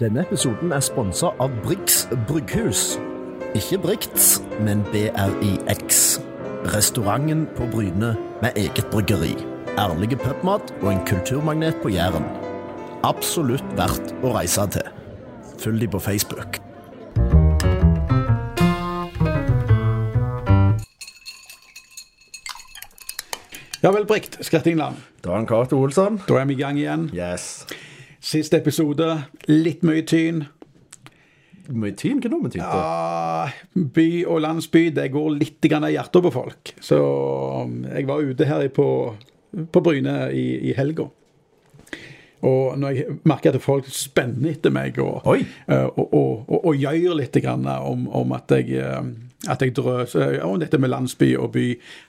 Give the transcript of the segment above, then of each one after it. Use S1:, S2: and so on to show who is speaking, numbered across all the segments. S1: Denne episoden er sponsa av Brix brygghus. Ikke Brix, men BRIX. Restauranten på Bryne med eget bryggeri. Ærlige pubmat og en kulturmagnet på Jæren. Absolutt verdt å reise til. Følg de på Facebook.
S2: Ja vel, Brikt Skrettingland.
S3: Dan Cato Olsson.
S2: Da er vi i gang igjen.
S3: Yes.
S2: Siste episode. Litt mye tyn.
S3: Mye tyn? Hva nå med tyn? til?
S2: Ah, by og landsby, det går litt grann i hjertet på folk. Så um, jeg var ute her på, på Bryne i, i helga. Og når jeg merker at folk spenner etter meg og,
S3: Oi.
S2: eh, og, og, og, og gjør litt grann om, om at jeg eh, at jeg drøs, eh, om dette med landsby og by.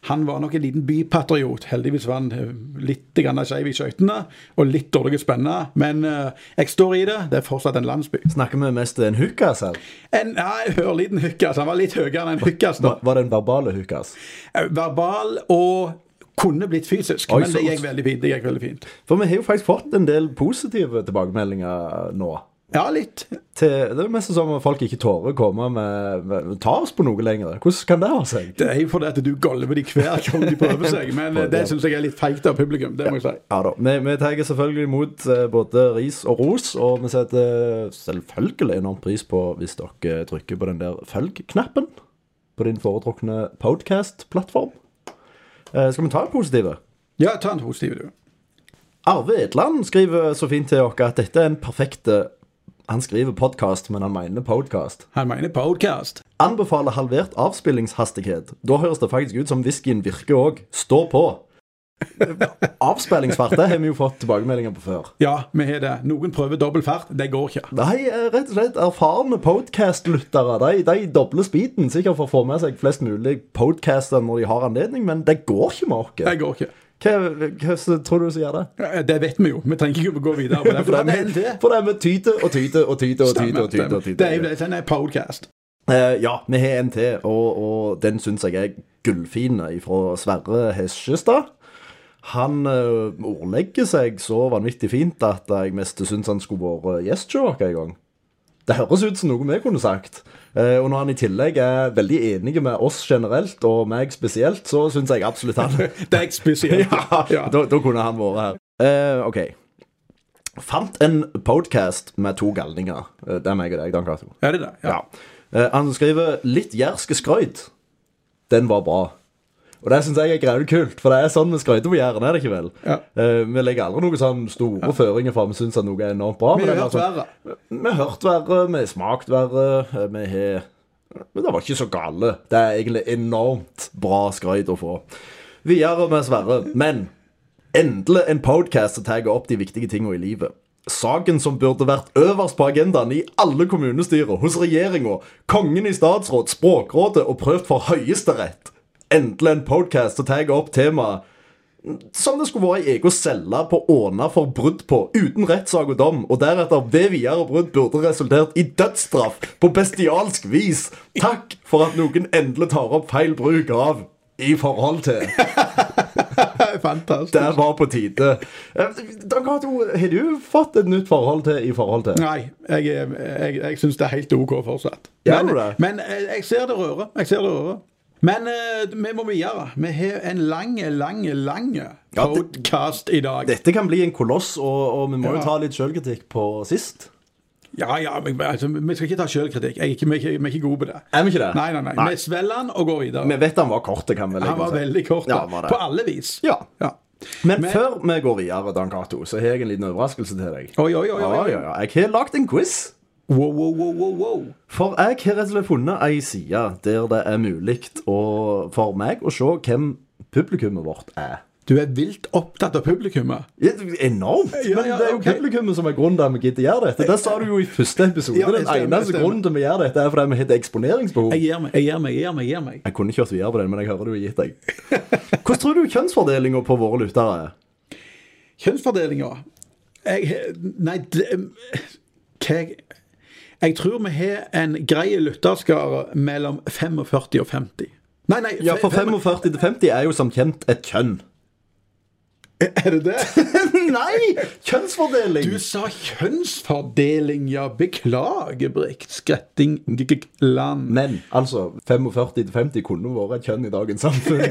S2: Han var nok en liten bypatriot. Heldigvis var han eh, litt grann skeiv i skøytene og litt dårlig spenna. Men eh, jeg står i det. Det er fortsatt en landsby.
S3: Snakker vi mest en hukas her?
S2: En nei, ørliten hukkas. Han var litt høyere enn en hukkas. da.
S3: Var var det en verbale hukas?
S2: Eh, Verbal og kunne blitt fysisk.
S3: Oi,
S2: men det
S3: så-
S2: gikk veldig fint. det gikk veldig fint.
S3: For vi har jo faktisk fått en del positive tilbakemeldinger nå.
S2: Ja, litt.
S3: Til, det er mest sånn som om folk ikke tårer å komme med, med ta oss på noe lenger. Hvordan kan det ha seg?
S2: Det er jo fordi at du golver de hver gang de prøver seg, men eh, det syns jeg er litt feigt av publikum. det må jeg si.
S3: Ja da, Vi, vi tar selvfølgelig imot eh, både ris og ros, og vi setter selvfølgelig enorm pris på hvis dere trykker på den der følg-knappen på din foretrukne podcast-plattform. Eh, Skal vi ta det positive?
S2: Ja, ta en positiv, du.
S3: Arve Edland skriver så fint til dere at dette er en perfekt eh, Han skriver podkast, men han mener podcast.
S2: Han mener podcast.
S3: Anbefaler halvert avspillingshastighet. Da høres det faktisk ut som whiskyen virker òg. Stå på. Avspillingsfart det har vi jo fått tilbakemeldinger på før.
S2: Ja, vi har det. Noen prøver dobbel fart. Det går ikke.
S3: Nei, eh, rett og slett erfarne podcast-lyttere. De, de dobler speeden sikkert for å få med seg flest mulig podcaster når de har anledning, men det går ikke med
S2: Det
S3: oss.
S2: går ikke.
S3: Hva, hva så tror du som gjør det?
S2: Eh, Det vet vi jo. Vi trenger ikke gå videre på
S3: For
S2: det. For
S3: det
S2: det
S3: er
S2: er
S3: vi- for det er vi tyter og tyter og tyter og tyter.
S2: Stemmer,
S3: og tyter,
S2: stemmer.
S3: og tyter.
S2: Det er jo det. Den er podcast.
S3: Eh, ja, vi har en til, og, og den syns jeg er gullfin fra Sverre Hesjestad. Han eh, ordlegger seg så vanvittig fint at jeg mest syns han skulle vært eh, gjest hos oss en gang. Det høres ut som noe vi kunne sagt. Eh, og når han i tillegg er veldig enig med oss generelt, og meg spesielt, så syns jeg absolutt han
S2: Det er spesielt.
S3: ja,
S2: Ja.
S3: Da, da kunne han vært her. Eh, OK. Fant en podcast med to galninger. Eh, Det er meg og deg, Dan Cato.
S2: Er det det? Ja.
S3: Ja. Eh, han skriver 'litt jærske skrøyt'. Den var bra. Og det syns jeg er greit kult, for det er sånn vi skrøyter på Jæren, er det ikke vel?
S2: Ja.
S3: Eh, vi legger aldri noen sånn store føringer for at vi syns at noe er enormt bra.
S2: Vi
S3: men
S2: har
S3: det er
S2: hørt
S3: sånn-
S2: verre.
S3: vi har hørt verre, vi har smakt verre, eh, vi har Men det var ikke så gale. Det er egentlig enormt bra skrøyt å få. Videre med Sverre. Men endelig en podcast som tagger opp de viktige tingene i livet. Saken som burde vært øverst på agendaen i alle kommunestyrer, hos regjeringa, kongen i statsråd, Språkrådet og prøvd for Høyesterett. Endelig en podcast som tagger opp temaet som det skulle vært i egen celle på Åna for brudd på uten rettssak og dom, og deretter ved videre brudd burde resultert i dødsstraff på bestialsk vis. Takk for at noen endelig tar opp feil bruk av i forhold til.
S2: Fantastisk.
S3: Det var på tide. Eh, Dan Cato, har du fått et nytt forhold til i forhold til?
S2: Nei, jeg, jeg, jeg syns det er helt OK fortsatt.
S3: Ja,
S2: Men,
S3: det er det.
S2: men jeg jeg ser det røret. Jeg ser det røret. Men eh, vi må videre. Vi har en lang, lang, lang podcast i dag.
S3: Dette kan bli en koloss, og, og vi må
S2: Ja.
S3: jo ta litt sjølkritikk på sist.
S2: Ja, ja, men altså, vi skal ikke ta sjølkritikk. Jeg er ikke- Vi er ikke- vi er ikke gode på det.
S3: Er vi ikke det?
S2: Nei, nei, nei. Vi svelger den og går videre.
S3: Vi vet han var kort, det kan vi legge
S2: Han var
S3: til.
S2: veldig kort.
S3: Ja,
S2: da.
S3: han var det.
S2: på alle vis.
S3: Ja. Men,
S2: Men-
S3: før vi går videre, Dan Cato, så har jeg en liten overraskelse til deg.
S2: Oi, oi, oi, oi,
S3: Ja,
S2: oi.
S3: ja, ja. Jeg har lagd en quiz.
S2: Wow, wow, wow, wow, wow.
S3: For jeg har rett og slett funnet ei side der det er mulig å- for meg å se hvem publikummet vårt er.
S2: Du er vilt opptatt av publikummet.
S3: Det er Enormt!
S2: Ja,
S3: Men
S2: ja,
S3: det er jo
S2: ok.
S3: publikummet som er grunnen til at vi gidder gjøre dette. Det sa du jo i første episode.
S2: Ja, det
S3: Den
S2: stemmer,
S3: eneste
S2: stemmer.
S3: grunnen til vi gjør dette, er fordi vi har et eksponeringsbehov.
S2: Jeg gir meg, jeg gir meg, jeg gir meg. Jeg gir meg.
S3: Jeg kunne kjørt videre på den, men jeg hører du har gitt deg. Hvordan tror du kjønnsfordelinga på våre lyttere er?
S2: Kjønnsfordelinga Jeg Nei, det- hva jeg Jeg tror vi har en grei lytterskare mellom 45 og 50. Nei, nei.
S3: Ja, for
S2: fem-
S3: 45 til 50 er jo som kjent et kjønn.
S2: Er det det?
S3: Nei! Kjønnsfordeling!
S2: Du sa kjønnsfordeling, ja. Beklager, Brikt. Skretting g- g- land.
S3: Men altså, 45 til 50 kunne vært et kjønn i dagens samfunn.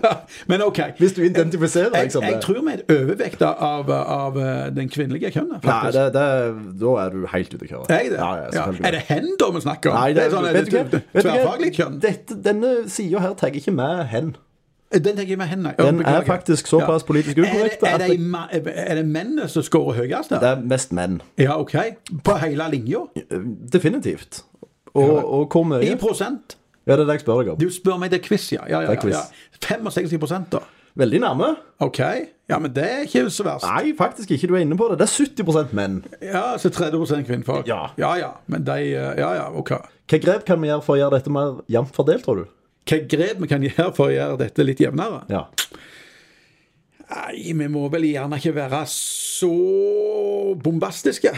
S2: Men OK.
S3: Hvis du identifiserer
S2: Jeg,
S3: deg som
S2: jeg
S3: det.
S2: tror vi er overvekt av, av eh, den kvinnelige kjønnet,
S3: Nei,
S2: faktisk.
S3: det, det, da er du helt ute å kjøre.
S2: Er jeg det?
S3: Ja, ja,
S2: Ja.
S3: selvfølgelig.
S2: Er det hen da vi snakker om?
S3: Nei,
S2: det er sånn,
S3: vet du hva?
S2: det-
S3: Vet du hva?
S2: Tverrfaglig kjønn?
S3: Dette, denne sida her tagger ikke med hen.
S2: Den tenker jeg med hen, nei. Ja,
S3: Den er
S2: beklager.
S3: faktisk såpass politisk ukorrekt
S2: Er
S3: at
S2: det, er, det, ma- er det mennene som scorer høyest
S3: Det
S2: der?
S3: er mest menn. Eh,
S2: Ja, OK. På hele linja?
S3: Definitivt. Og, og hvor mye?
S2: I prosent?
S3: Ja, det er det jeg spør deg om.
S2: Du spør meg, det er quiz, ja. ja, ja,
S3: Det er quiz.
S2: ja. 65 da.
S3: Veldig nærme.
S2: OK. Ja, men det er ikke så verst.
S3: Nei, faktisk ikke. Du er inne på det. Det er 70 menn.
S2: Ja, så 30 kvinnfolk.
S3: Ja.
S2: ja ja. Men de eh, Ja ja, OK.
S3: Hva grep kan vi gjøre for å gjøre dette mer jevnt fordelt, tror du?
S2: Hva grep vi kan gjøre for å gjøre dette litt jevnere?
S3: Ja.
S2: Nei, vi må vel gjerne ikke være så bombastiske.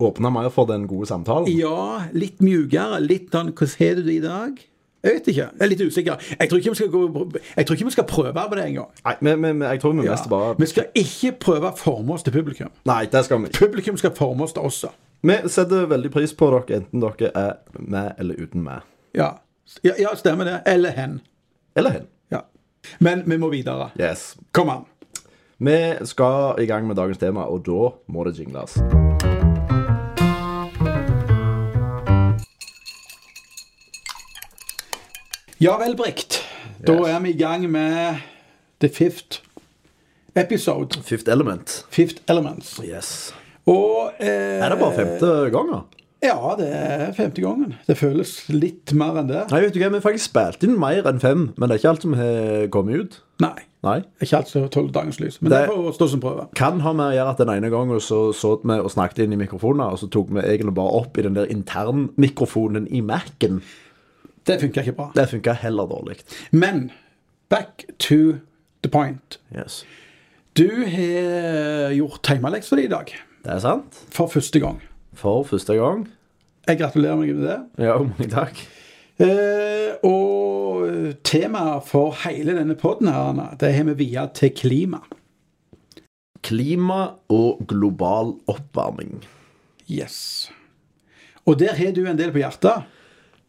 S3: Åpne mer for den gode samtalen?
S2: Ja, litt mjukere. Litt sånn Hvordan har du det i dag? Jeg vet ikke. Jeg er litt usikker. Jeg tror ikke vi skal, gå, jeg tror ikke vi skal prøve på det engang.
S3: Nei, men, men, men jeg tror vi
S2: Ja.
S3: mest bare
S2: Vi skal ikke prøve å forme oss til publikum.
S3: Nei, det skal vi ikke.
S2: Publikum skal forme oss til oss. da.
S3: Vi setter veldig pris på dere, enten dere er med eller uten meg.
S2: Ja. ja, ja stemmer det. Eller hen.
S3: Eller hen.
S2: Ja. Men vi må videre.
S3: Yes.
S2: Kom an.
S3: Vi skal i gang med dagens tema, og da må det jingles.
S2: Ja vel, Brikt. Da er vi i gang med The Fifth Episode.
S3: Fifth Element.
S2: Fifth Elements.
S3: Yes.
S2: Og eh,
S3: Er det bare femte ganger?
S2: Ja, det er femte gangen. Det føles litt mer enn det.
S3: Nei, vet du hva, vi har faktisk spilt inn mer enn fem, men det er ikke alt som har kommet ut.
S2: Nei.
S3: Nei.
S2: Ikke alt som tåler dagens lys, men det,
S3: Det-
S2: får stå som prøve.
S3: Kan ha med å gjøre at den ene gangen så satt vi og snakket inn i mikrofoner, og så tok vi egentlig bare opp i den der internmikrofonen i Mac-en.
S2: Det funker ikke bra.
S3: Det funka heller dårlig.
S2: Men back to the point.
S3: Yes.
S2: Du har gjort hjemmeleksa di i dag.
S3: Det er sant.
S2: For første gang.
S3: For første gang.
S2: Jeg gratulerer meg med det.
S3: Ja, mange takk.
S2: Eh, og temaet for hele denne podden her, Anna, det har vi via til klima.
S3: Klima og global oppvarming.
S2: Yes. Og der har du en del på hjertet.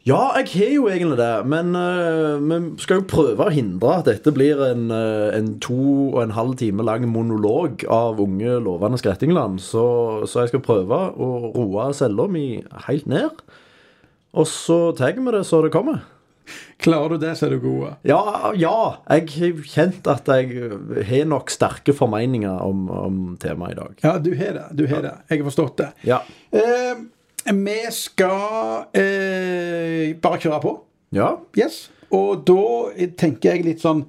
S3: Ja, jeg har jo egentlig det, men eh, vi skal jo prøve å hindre at dette blir en, eh, en to og en halv time lang monolog av unge, lovende skrettingland. Så, så jeg skal prøve å roe cella mi helt ned. Og så tar vi det så det kommer.
S2: Klarer du det, så er du god.
S3: Ja, ja. Jeg har kjent at jeg har nok sterke formeninger om, om temaet i dag.
S2: Ja, du har det. Du har det. Jeg har forstått det.
S3: Ja.
S2: Eh, vi skal eh, bare kjøre på.
S3: Ja.
S2: Yes. Og da tenker jeg litt sånn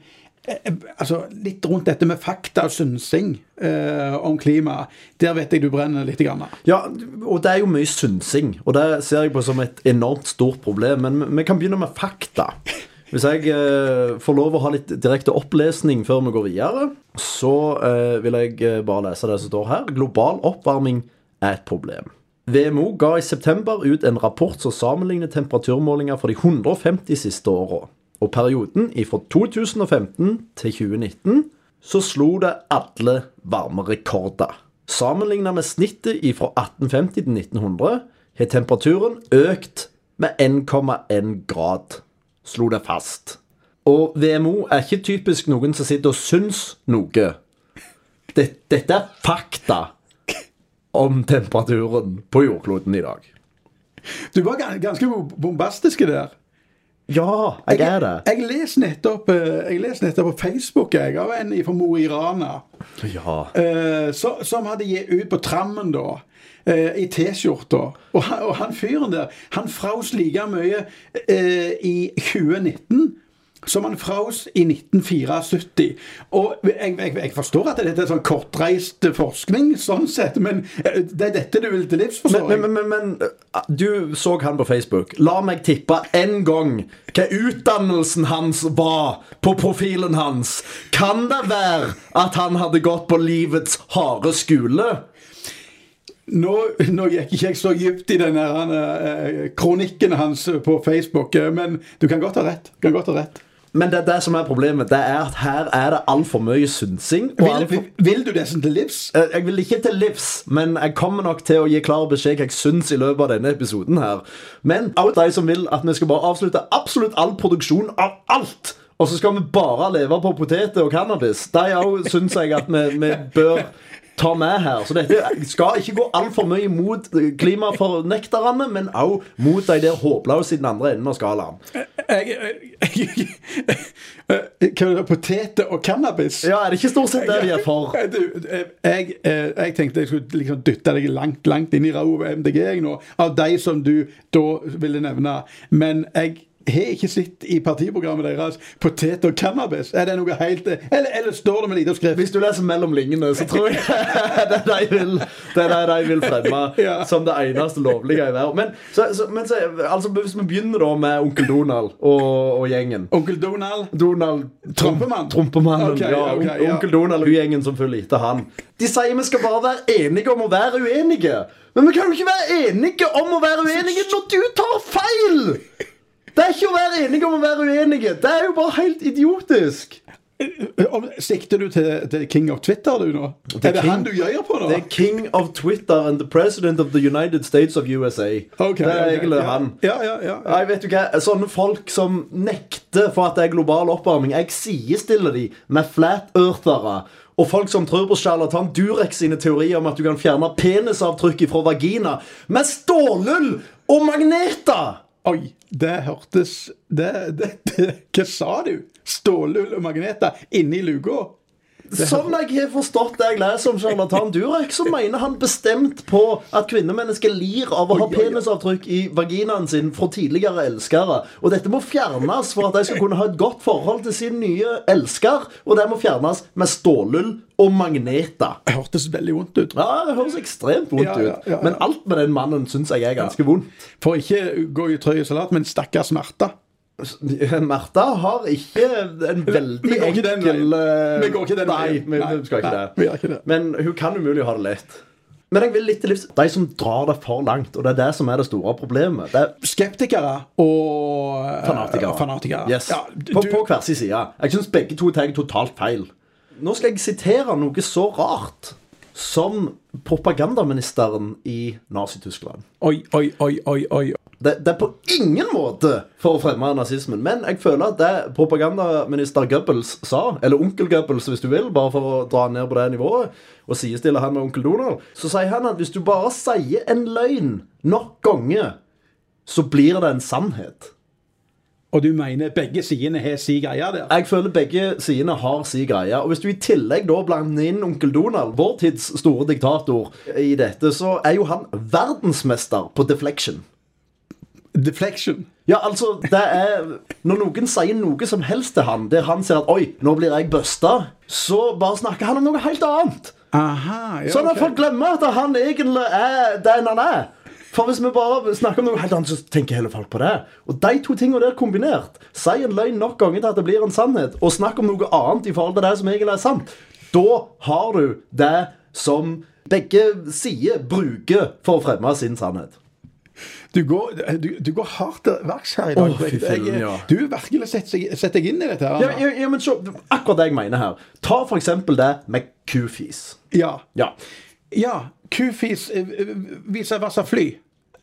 S2: eh, Altså litt rundt dette med fakta og synsing eh, om klima. Der vet jeg du brenner litt. Grann.
S3: Ja, og det er jo mye synsing, og det ser jeg på som et enormt stort problem. Men vi- vi kan begynne med fakta. Hvis jeg eh, får lov å ha litt direkte opplesning før vi går videre, så eh, vil jeg eh, bare lese det som står her. Global oppvarming er et problem. WMO ga i september ut en rapport som sammenligner temperaturmålinger for de 150 siste åra. Og perioden fra 2015 til 2019 så slo det alle varmerekorder. Sammenlignet med snittet fra 1850 til 1900 har temperaturen økt med 1,1 grad, slo det fast. Og VMO er ikke typisk noen som sitter og syns noe. Det- Dette er fakta om temperaturen på jordkloden i dag.
S2: Du var gan- ganske bombastisk der.
S3: Ja, jeg er det.
S2: Jeg leser nettopp, eh, jeg leser nettopp på Facebook jeg, av en fra Mo i Rana
S3: Ja.
S2: eh, så- som hadde gitt ut på trammen da. eh, I T-skjorta. Og, han- og han fyren der, han fraus like mye eh, i 2019 som han fraus i 1974. Og jeg, jeg, jeg forstår at dette er sånn kortreist forskning, sånn sett, men eh, det er dette du vil til livs, forstår
S3: Men,
S2: jeg.
S3: men, men, men uh, du så han på Facebook. La meg tippe én gang hva utdannelsen hans var på profilen hans. Kan det være at han hadde gått på livets harde skole?
S2: Nå, nå gikk ikke jeg så dypt i den her, han, eh, kronikken hans på Facebook, eh, men du kan godt ha rett. Du kan godt ha rett.
S3: Men det er det som er problemet. Det er at her er det altfor mye synsing. Og alt
S2: Vil,
S3: for-
S2: vil du desen til livs?
S3: Eh, Jeg vil ikke til livs, men jeg kommer nok til å gi klar beskjed hva jeg syns i løpet av denne episoden. her Men alle de som vil at vi skal bare avslutte absolutt all produksjon av alt, og så skal vi bare leve på poteter og cannabis, de òg syns jeg at vi, vi bør ta med her. Så dette skal ikke gå altfor mye mot klimafornekterne, men òg mot de der håpløse i den andre enden av skalaen.
S2: Jeg, jeg, jeg, jeg Poteter og cannabis?
S3: Ja, er det ikke stort sett det vi er for?
S2: Eh, Du, eh, jeg, eh, jeg tenkte jeg skulle liksom dytte deg langt langt inn i rauet med MDG jeg nå, av de som du da ville nevne. Men jeg har ikke sett i partiprogrammet deres potet og cannabis. Er det noe helt eh, Eller, eller står det med lite skrift?
S3: Hvis du leser mellom linjene, så tror jeg det er det de vil, det er det de vil fremme
S2: Ja.
S3: som det eneste lovlige i verden. Men, så, så, men så, altså, hvis vi begynner da med onkel Donald og, og gjengen
S2: Onkel Donald?
S3: Donald
S2: Trompemann?
S3: Trompemannen,
S2: Ok,
S3: ja,
S2: ok,
S3: on-
S2: ja.
S3: Onkel Donald og gjengen som følger etter han. De sier vi skal bare være enige om å være uenige. Men vi kan jo ikke være enige om å være uenige når du tar feil! Det er ikke å være enige om å være uenige. Det er jo bare helt idiotisk.
S2: Eh, om- Sikter du til, til King of Twitter, du nå?
S3: er
S2: Er det han
S3: King-
S2: du gjør på nå?
S3: Det er king of Twitter and the president of the United States of USA.
S2: Ok,
S3: det er
S2: ok,
S3: egentlig
S2: ja.
S3: han.
S2: Ja, ja, ja.
S3: Nei, vet du hva? Sånne folk som nekter for at det er global oppvarming. Jeg sidestiller de med flat-earthere. Og folk som tror på sjarlatan Durek sine teorier om at du kan fjerne penisavtrykk fra vagina med stålull og magneter!
S2: Oi, det hørtes det, det, det, Hva sa du? Stålull og magneter inni luka?
S3: Som Sånn jeg har forstått det jeg leser om sjarlatan Durek, så mener han bestemt på at kvinnemennesker lir av å ha
S2: Oi, oi, oi.
S3: penisavtrykk i vaginaen sin fra tidligere elskere. Og dette må fjernes for at de skal kunne ha et godt forhold til sin nye elsker. Og det må fjernes med stålull og magneter.
S2: Det hørtes veldig vondt ut.
S3: Ja, Det høres ekstremt vondt
S2: Ja, ja, ja, ja.
S3: ut. Men alt med den mannen syns jeg er ganske vondt.
S2: For ikke gå i trøye salat, men stakkars Martha.
S3: Märtha har ikke en veldig
S2: Vi går ikke den
S3: enkel
S2: veien. Vi går ikke den
S3: Nei,
S2: veien.
S3: vi,
S2: Nei,
S3: vi skal ikke
S2: nei,
S3: det.
S2: vi gjør ikke det.
S3: Men hun kan umulig ha det lett. Men jeg vil litt til livs de som drar det for langt, og det er det som er det store problemet. Det er
S2: Skeptikere og eh,
S3: fanatikere.
S2: fanatikere.
S3: Yes.
S2: Ja, du,
S3: på, på hver sin side. Jeg syns begge to tar totalt feil. Nå skal jeg sitere noe så rart som propagandaministeren i Nazi-Tyskland.
S2: Oi, oi, oi, oi. oi.
S3: Det, det er på ingen måte for å fremme nazismen, men jeg føler at det propagandaminister Goebbels sa, eller onkel Goebbels hvis du vil, bare for å dra ned på det nivået, og sidestille han med onkel Donald, så sier han at hvis du bare sier en løgn nok ganger, så blir det en sannhet.
S2: Og du mener begge sidene har si greie der?
S3: Jeg føler begge sidene har si greie. Og hvis du i tillegg da blander inn onkel Donald, vår tids store diktator, i dette, så er jo han verdensmester på deflection.
S2: Deflection.
S3: Ja, altså, det er Når noen sier noe som helst til han, der han ser at 'oi, nå blir jeg busta', så bare snakker han om noe helt annet.
S2: Aha, ja,
S3: Sånn at
S2: ok.
S3: folk glemmer at han egentlig er den han er. For hvis vi bare snakker om noe helt annet, så tenker hele folk på det. Og de to tingene der kombinert, si en løgn nok ganger til at det blir en sannhet, og snakk om noe annet i forhold til det som egentlig er sant, da har du det som begge sider bruker for å fremme sin sannhet.
S2: Du går, du, du går hardt til verks her i dag.
S3: Å, fy
S2: Jeg-
S3: fillen, ja.
S2: Du virkelig setter seg- setter deg inn i dette. her
S3: Ja,
S2: nå.
S3: ja, ja, men se, akkurat det jeg mener her. Ta for eksempel det med kufis.
S2: Ja.
S3: Ja.
S2: Ja. Kufis eh, eh, vice versa fly.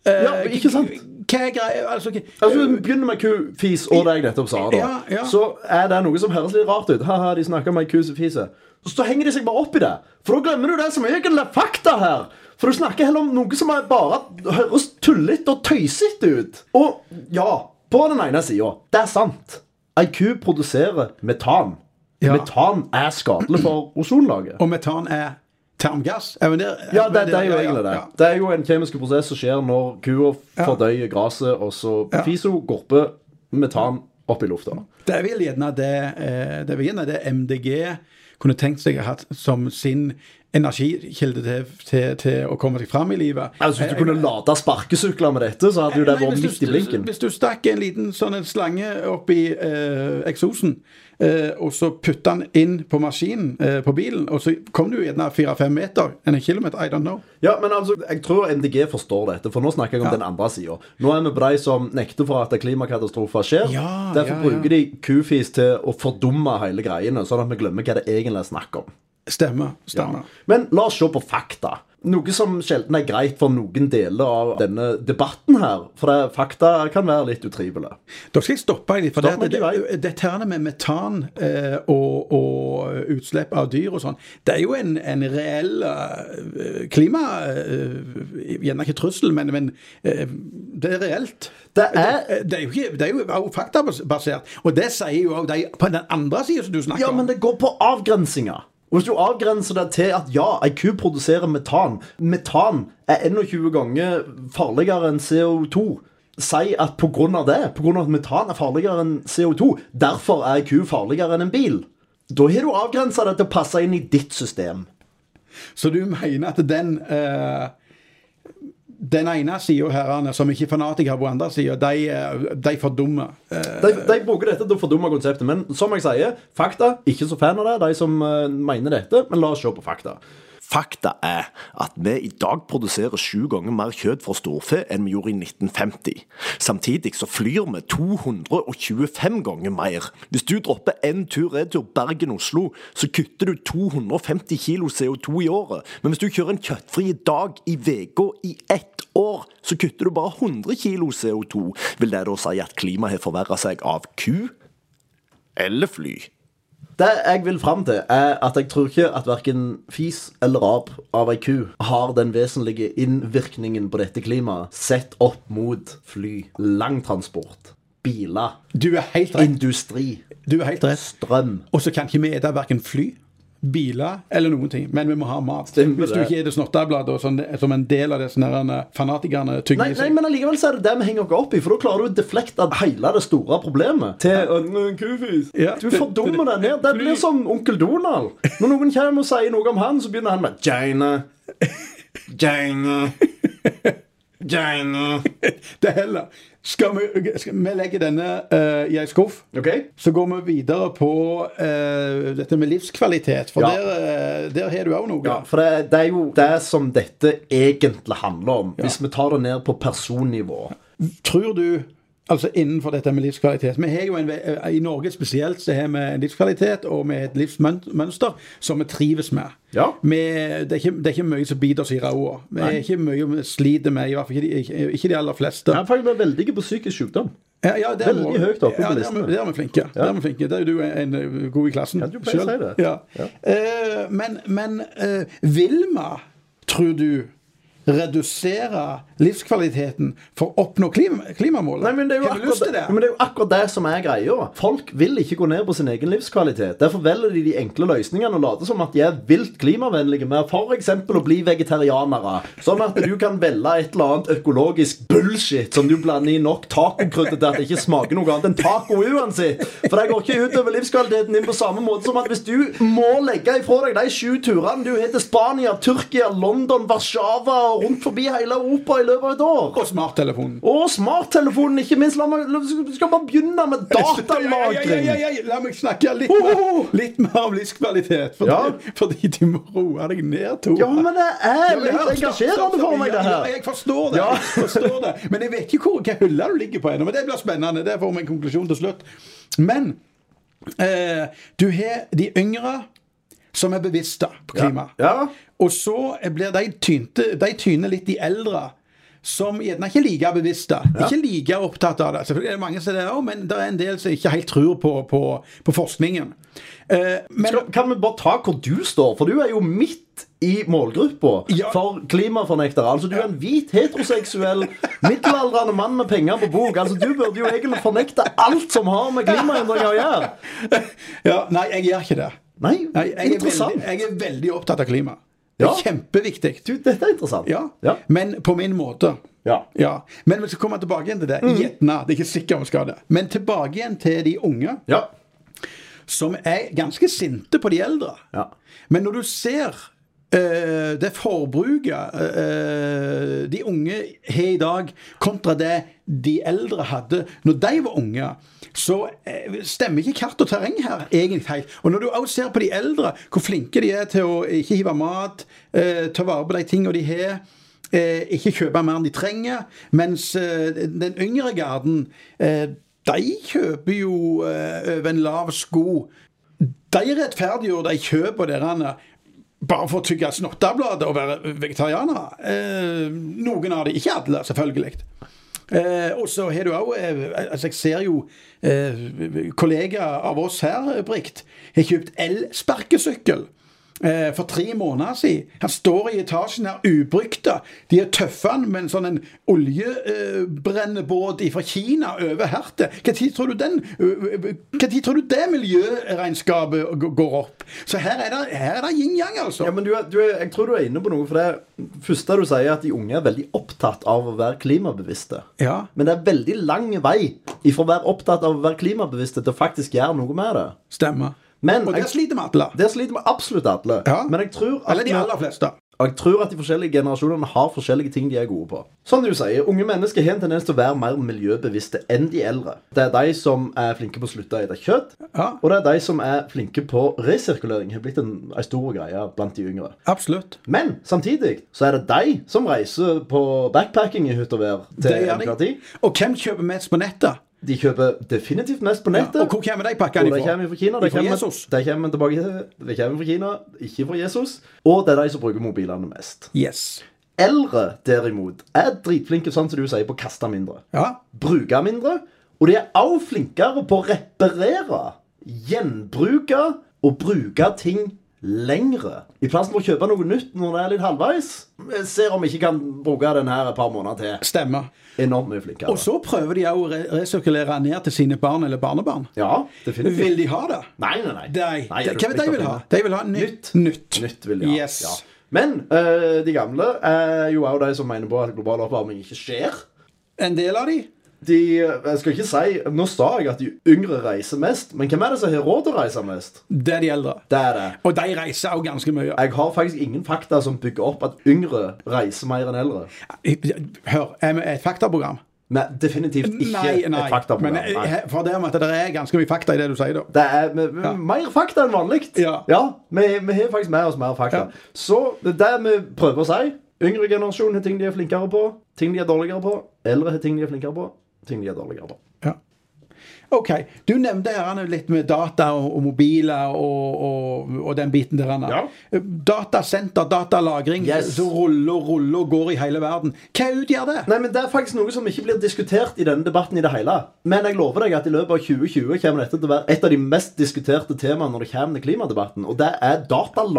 S3: Ja, men ikke sant?
S2: Hva er greia Altså, hva-
S3: Altså, Hvis vi begynner med kufis og det jeg nettopp sa, da,
S2: Ja, ja.
S3: så er det noe som høres litt rart ut. Haha, de snakker om ei kusefise. Så henger de seg bare opp i det. For da glemmer du det som egentlig er fakta her. For du snakker heller om noe som er bare høres tullete og tøysete ut. Og ja, på den ene sida, det er sant. Ei ku produserer metan.
S2: Ja.
S3: Metan er skadelig for ozonlaget.
S2: Og metan er termgass? Er vi der?
S3: Ja, det, det er jo
S2: Ja,
S3: egentlig det.
S2: ja.
S3: Det er jo en kjemisk prosess som skjer når kua fordøyer gresset, og så fiser hun gorpe metan opp i lufta.
S2: Det er vel gjerne det, eh, det, er vel gjerne det MDG kunne tenkt seg å ha hatt som sin energikilde til, til, til å komme seg fram i livet.
S3: Altså, Hvis du kunne lade sparkesykler med dette, så hadde jo det
S2: Nei,
S3: vært
S2: hvis du-
S3: midt i blinken.
S2: Hvis du stakk en liten sånn en slange oppi eh, eksosen, eh, og så putta den inn på maskinen eh, på bilen, og så kom du gjerne fire-fem meter, en kilometer, I don't know.
S3: Ja, men altså, Jeg tror MDG forstår dette, for nå snakker jeg om den andre sida. Nå er vi på de som nekter for at klimakatastrofer skjer.
S2: Ja,
S3: Derfor
S2: ja,
S3: bruker de kufis til å fordumme hele greiene, sånn at vi glemmer hva det egentlig er snakk om.
S2: Stemmer. stemmer.
S3: Men la oss se på fakta. Noe som sjelden er greit for noen deler av denne debatten her. For det, fakta kan være litt utrivelige.
S2: Da skal jeg stoppe deg litt. For
S3: Stopp
S2: det,
S3: meg,
S2: det,
S3: du
S2: det, dette her med metan eh, og, og utslipp av dyr og sånn, det er jo en, en reell eh, klima... Eh, gjerne ikke trussel, men, men eh, det er reelt.
S3: Det er-
S2: det, det er jo, ikke, det er jo- er jo faktabasert. Og det sier jo også de på den andre siden som du snakker
S3: Ja, men
S2: om.
S3: det går på avgrensinger. Og Hvis du avgrenser det til at ja, ei ku produserer metan Metan er 21 ganger farligere enn CO2. Si at pga. det, pga. at metan er farligere enn CO2, derfor er ei ku farligere enn en bil. Da har du avgrensa det til å passe inn i ditt system.
S2: Så du mener at den... Eh, den ene siden herrene som ikke er fanatikere på andre siden, de, eh, de fordummer. Eh,
S3: De, de bruker dette til å fordumme konseptet, men som jeg sier, fakta Ikke så fan av det, de som eh, mener dette, men la oss se på fakta.
S1: Fakta er at vi i dag produserer sju ganger mer kjøtt fra storfe enn vi gjorde i 1950. Samtidig så flyr vi 225 ganger mer. Hvis du dropper en tur-retur Bergen-Oslo, så kutter du 250 kilo CO2 i året. Men hvis du kjører en kjøttfri dag i uka i ett år, så kutter du bare 100 kilo CO2. Vil det da si at klimaet har forverra seg av ku? Eller fly?
S3: Det jeg vil fram til, er at jeg tror ikke at verken fis eller rap av ei ku har den vesentlige innvirkningen på dette klimaet sett opp mot fly, langtransport, biler,
S2: du er helt rett.
S3: industri,
S2: Du er helt rett.
S3: strøm.
S2: Og så kan ikke vi ete verken fly, biler eller noen ting, men vi må ha mat.
S3: Stemmer
S2: Hvis du
S3: det.
S2: ikke spiser snotteblader og sånn, som en del av disse her fanatikerne
S3: Nei,
S2: tygger i
S3: nei,
S2: seg.
S3: men allikevel så er det det vi henger oss opp i, for da klarer du å deflekte hele det store problemet til å, «Nå, kufis.
S2: Ja,
S3: Du
S2: det-
S3: fordummer deg ned. Det
S2: Fly-
S3: blir som onkel Donald. Når noen kommer og sier noe om han, så begynner han med Jane. Jane. Jane.
S2: Det heller. Skal vi, skal, vi legger denne eh, i en skuff.
S3: Ok?
S2: Så går vi videre på eh, dette med livskvalitet, for
S3: Ja.
S2: der, eh, der har du òg noe.
S3: Ja, for det, det er jo det som dette egentlig handler om, hvis vi tar det ned på personnivå.
S2: Tror du Altså innenfor dette med livskvalitet. Vi har jo en, ve- eh, I Norge spesielt så har vi en livskvalitet og med et livsmønster som vi trives med.
S3: Ja.
S2: Vi, det, er ikke, det er ikke mye som biter oss i ræva. Vi er ikke mye vi sliter med, i hvert fall ikke de, ikke, ikke de aller fleste.
S3: Jeg er faktisk veldig på psykisk sykdom.
S2: Ja, ja, det er
S3: Veldig
S2: vi-
S3: høyt oppe på
S2: ja,
S3: listene.
S2: Der er vi flinke. Der er vi flinke. Der er du en, en god i klassen.
S3: Ja, du pleier å
S2: selv.
S3: si det.
S2: Ja. Eh, men men eh, vil vi, tror du, redusere livskvaliteten for å oppnå klim klimamålet?
S3: Nei, men det, er jo
S2: Har vi lyst
S3: akkurat,
S2: til det?
S3: men det er jo akkurat det som er greia. Folk vil ikke gå ned på sin egen livskvalitet. Derfor velger de de enkle løsningene og later som at de er vilt klimavennlige med f.eks. å bli vegetarianere. Sånn at du kan velge et eller annet økologisk bullshit som du blander i nok tacokrydder til at det ikke smaker noe annet enn taco uansett. For det går ikke utover livskvaliteten din på samme måte som at hvis du må legge ifra deg de sju turene du har til Spania, Tyrkia, London, Warszawa og rundt forbi hele Europa i løpet av et år
S2: Og smarttelefonen.
S3: og smarttelefonen, ikke minst. La meg, la, skal skal bare begynne med datalagring.
S2: Ja, ja, ja, ja, ja. La meg snakke litt,
S3: Ho,
S2: mer,
S3: ho, ho.
S2: litt mer om livskvalitet. Fordi,
S3: Ja.
S2: fordi du må roe deg ned, Tore.
S3: Ja, men det er
S2: Ja, men
S3: litt
S2: hør, stopp, stopp,
S3: engasjerende for
S2: stopp.
S3: meg, det
S2: Ja,
S3: her.
S2: ja, Jeg forstår det.
S3: Ja.
S2: jeg forstår det. Men jeg vet ikke hvor hva hylle du ligger på ennå. Men det blir spennende. Det får vi en konklusjon til slutt. Men eh, du har de yngre som er bevisste på klima.
S3: Ja.
S2: Og så blir de tynte De tyner litt de eldre. Som gjerne ikke er like bevisste. Ikke like opptatt av det. Selvfølgelig er det mange som er det også, men det er en del som ikke helt tror på, på, på forskningen. Eh, men,
S3: Skal, kan vi bare ta hvor du står? For du er jo midt i målgruppa
S2: Ja.
S3: for klimafornektere. Altså, du er en hvit, heteroseksuell, middelaldrende mann med penger på bok. Altså, Du burde jo egentlig fornekte alt som har med klimaendringer å gjøre.
S2: ja, nei, jeg gjør ikke det.
S3: Nei,
S2: Nei, jeg, er veldig,
S3: interessant.
S2: jeg er veldig opptatt av klima. Det er
S3: Ja.
S2: kjempeviktig.
S3: Du, dette er interessant.
S2: Ja.
S3: Ja.
S2: Men på min måte.
S3: Ja. Mhm.
S2: Men vi skal komme tilbake igjen til det. Gjerne. Det er ikke sikkert vi skal det. Men tilbake igjen til de unge,
S3: ja.
S2: som er ganske sinte på de eldre.
S3: Ja.
S2: Men når du ser eh, det forbruket eh, de unge har i dag, kontra det de eldre hadde når de var unge, så eh, stemmer ikke kart og terreng her egentlig helt. Og når du også ser på de eldre, hvor flinke de er til å ikke hive mat, eh, ta vare på de tingene de har. Eh, ikke kjøpe mer enn de trenger. Mens eh, den yngre garden, eh, de kjøper jo eh, over en lav sko. De rettferdiggjør de kjøper derene bare for å tygge snottebladet og være vegetarianere. Eh, noen av de, ikke alle, selvfølgelig. Eh, og så har du òg eh, altså Jeg ser jo eh, kollegaer av oss her, Brikt, har kjøpt elsparkesykkel eh, for tre måneder siden. Han står i etasjen her ubrukte. De er tøffe han med en sånn en oljebrennebåt fra Kina over hertet. Hva tid tror du den eh, Hva tid tror du det miljøregnskapet g- går opp? Så her er det, her er det yin-yang, altså.
S3: Ja, men du er, du er, jeg tror du er inne på noe, for det første du sier, er at de unge er veldig opptatt av å være klimabevisste.
S2: Ja.
S3: Men det er veldig lang vei ifra å være opptatt av å være klimabevisste til å faktisk gjøre noe med det.
S2: Stemmer.
S3: Men
S2: Og der
S3: jeg,
S2: sliter vi alle.
S3: det sliter med absolutt alle.
S2: Ja.
S3: Men jeg tror, at
S2: Eller de
S3: vi-
S2: aller fleste.
S3: og jeg tror at de forskjellige generasjonene har forskjellige ting de er gode på. Som du sier, Unge mennesker har en tendens til å være mer miljøbevisste enn de eldre. Det er de som er flinke på å slutte å spise kjøtt,
S2: Ja,
S3: og det er de som er flinke på resirkulering. har blitt en, en stor greie blant de yngre.
S2: absolutt.
S3: Men samtidig så er det de som reiser på backpacking i hytt og vær. til
S2: Det gjør
S3: enhver
S2: de.
S3: tid.
S2: Og hvem kjøper mest på nettet?
S3: De kjøper definitivt mest på
S2: Ja.
S3: nettet.
S2: Og hvor kommer de pakkene
S3: Og de
S2: ifra?
S3: kommer fra Kina. De
S2: Ifra
S3: kommer,
S2: Jesus.
S3: de kommer tilbake til De kommer fra Kina, ikke fra Jesus. Og det er de som bruker mobilene mest.
S2: Yes.
S3: Eldre, derimot, er dritflinke, sånn som du sier, på å kaste mindre.
S2: Ja.
S3: Bruke mindre. Og de er også flinkere på å reparere, gjenbruke og bruke ting lengre. I plassen for å kjøpe noe nytt når det er litt halvveis. Vi ser om vi ikke kan bruke den her et par måneder til.
S2: Stemmer.
S3: Enormt mye flinkere.
S2: Og så prøver de òg å re- resirkulere ned til sine barn eller barnebarn.
S3: Ja, definitivt.
S2: Vil de ha det?
S3: Nei, nei, nei.
S2: Nei.
S3: Nei, er
S2: Hva
S3: du
S2: vil de
S3: plikt
S2: vil
S3: å
S2: ha?
S3: finne?
S2: De vil ha nytt. Nytt.
S3: Nytt vil de ha.
S2: Yes.
S3: Ja. Men eh, de gamle er jo også de som mener på at global oppvarming ikke skjer.
S2: En del av de?
S3: De, jeg skal ikke si, Nå sa jeg at de yngre reiser mest, men hvem er det som har råd til å reise mest?
S2: Det er de eldre.
S3: Det er det.
S2: Og de reiser òg ganske mye.
S3: Jeg har faktisk ingen fakta som bygger opp at yngre reiser mer enn eldre.
S2: Hør, er vi et faktaprogram?
S3: Nei, definitivt ikke
S2: Nei, nei.
S3: et
S2: Men
S3: faktaprogram.
S2: eh,
S3: Nei.
S2: he- for det med at det er ganske mye fakta i det du sier, da.
S3: Det er vi- vi- mer fakta enn vanlig.
S2: Ja.
S3: vi, vi har faktisk med oss mer fakta.
S2: Ja.
S3: Så det er det vi prøver å si. Yngre generasjon har ting de er flinkere på, ting de er dårligere på. Eldre har ting de er flinkere på, ting de er dårligere på.
S2: Ja. OK. Du nevnte her Anne, litt med data og, og mobiler og, og, og den biten der. Anne.
S3: Ja.
S2: Datasenter, datalagring,
S3: Yes.
S2: som ruller og ruller og går i hele verden. Hva utgjør det?
S3: Nei, men Det er faktisk noe som ikke blir diskutert i denne debatten i det hele. Men jeg lover deg at i løpet av 2020 kommer dette til å være et av de mest diskuterte temaene når det kommer til klimadebatten, og det er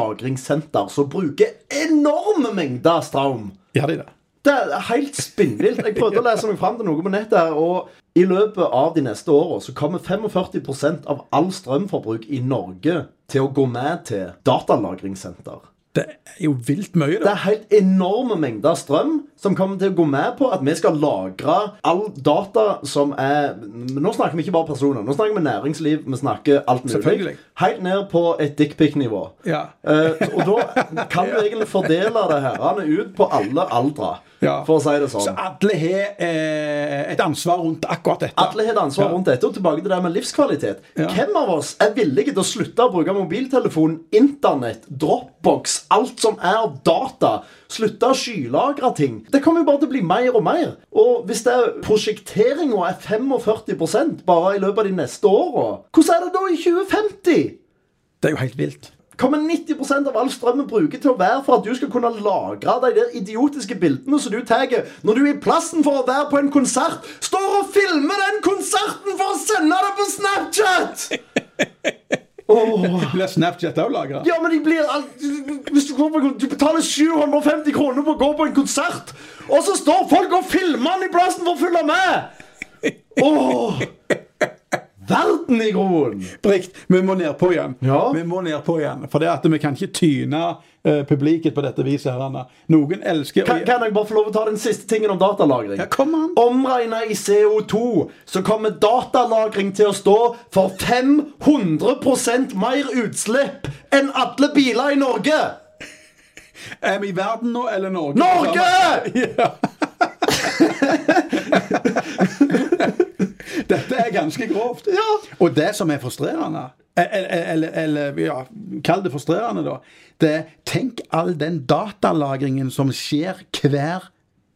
S3: datalagringssenter som bruker enorme mengder strøm.
S2: Gjør de det?
S3: Det er helt spinnvilt. Jeg prøvde å lese meg fram til noe på nettet. her, og I løpet av de neste årene så kommer 45 av all strømforbruk i Norge til å gå med til datalagringssenter.
S2: Det er jo vilt mye,
S3: Det
S2: da.
S3: er helt enorme mengder strøm som kommer til å gå med på at vi skal lagre all data som er men Nå snakker vi ikke bare personer. Nå snakker vi næringsliv. Vi snakker alt mulig.
S2: Selvfølgelig.
S3: Helt ned på et dickpic-nivå.
S2: Ja.
S3: Eh, og da kan du egentlig fordele det her ut på alle aldre,
S2: Ja.
S3: for å si det sånn.
S2: Så alle har eh, et ansvar rundt akkurat dette.
S3: Alle har et ansvar
S2: Ja.
S3: rundt dette. Og tilbake til det med livskvalitet.
S2: Ja.
S3: Hvem av oss er villige til å slutte å bruke mobiltelefon, internett, dropbox, alt som er av data? Slutte å skylagre ting? Det kommer jo bare til å bli mer og mer. Og hvis det er prosjekteringa er 45 bare i løpet av de neste åra, hvordan er det da i 2050?
S2: Det er jo helt vilt.
S3: Kommer 90 av all strøm vi bruker til å være for at du skal kunne lagre de der idiotiske bildene som du tar når du i plassen for å være på en konsert, står og filmer den konserten for å sende det på Snapchat! Åh.
S2: Blir Snapchat òg lagra?
S3: Ja, men de blir alt- Hvis du, går på, du betaler 750 kroner på å gå på en konsert, og så står folk og filmer den i plassen for å følge med! Åh. Verden i groen!
S2: Brikt, vi må nedpå igjen.
S3: Ja.
S2: Vi må nedpå igjen. For det at vi kan ikke tyne eh, publiket på dette viset. her, Anna. Noen elsker
S3: Kan, kan jeg bare få lov å ta den siste tingen om datalagring?
S2: Ja, kom an.
S3: Omregna i CO2 så kommer datalagring til å stå for 500 mer utslipp enn alle biler i Norge!
S2: Er vi i verden nå, eller Norge?
S3: Norge!
S2: Ja. Dette er ganske grovt. Og det som er frustrerende, eller, eller, eller ja, kall det frustrerende, da, det er tenk all den datalagringen som skjer hver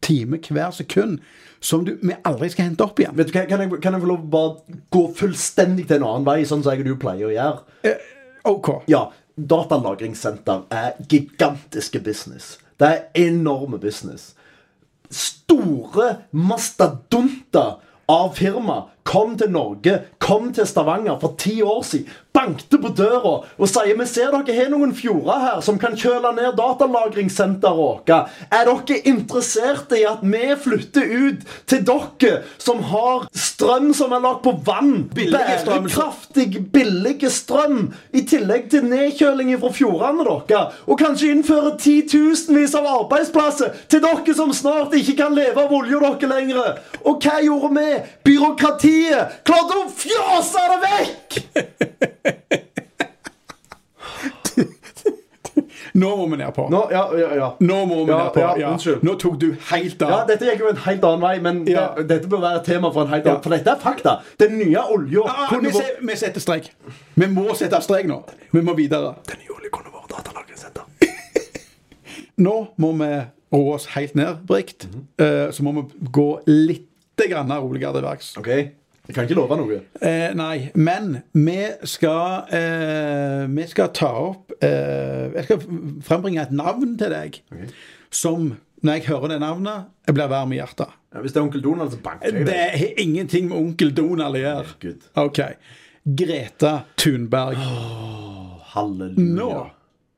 S2: time, hver sekund, som du, vi aldri skal hente opp igjen.
S3: Vet du, hva, kan, jeg, kan jeg få lov å bare gå fullstendig til en annen vei, sånn som jeg og du pleier å gjøre?
S2: Eh, OK.
S3: Ja, datalagringssenter er gigantiske business. Det er enorme business. Store mastadonter av firma kom til Norge, kom til Stavanger for ti år siden, bankte på døra og sier vi ser dere har noen fjorder her som kan kjøle ned datalagringssenteret vårt. Er dere interessert i at vi flytter ut til dere som har strøm som er lagd på vann?
S2: Billig strøm.
S3: Bærekraft kraftig, billig strøm i tillegg til nedkjøling fra fjordene deres, og kanskje innføre titusenvis av arbeidsplasser til dere som snart ikke kan leve av olja dere lenger. Og hva gjorde vi? Byråkratiet klarte å fjase det vekk!
S2: Nå må vi ned på.
S3: Nå, ja, ja, ja.
S2: Nå må vi
S3: Ja,
S2: ned på.
S3: ja,
S2: Ja,
S3: unnskyld.
S2: Nå tok du helt av.
S3: Ja, Dette gikk jo en helt annen vei, men
S2: Ja.
S3: det, dette bør være et tema for en helt annen For dette er fakta. Den nye olja
S2: Ah,
S3: kunne
S2: vi, se,
S3: vært
S2: vi setter strek. Vi må sette strek nå. Vi må videre.
S3: Den nye olja kunne vært datalagringssenter.
S2: Nå må vi roe oss helt ned, Brikt.
S3: Mhm.
S2: Eh, så må vi gå litt grann roligere til verks.
S3: Ok, Jeg kan ikke love noe.
S2: Eh, nei, men vi skal eh, Vi skal ta opp eh, Jeg skal frembringe et navn til deg som, når jeg hører det navnet, jeg blir varm i hjertet.
S3: Ja, hvis det er onkel Donald, så banker jeg
S2: Det
S3: deg.
S2: har ingenting med onkel Donald å gjøre.
S3: Herregud.
S2: OK. Greta Thunberg.
S3: Halleluja.
S2: Nå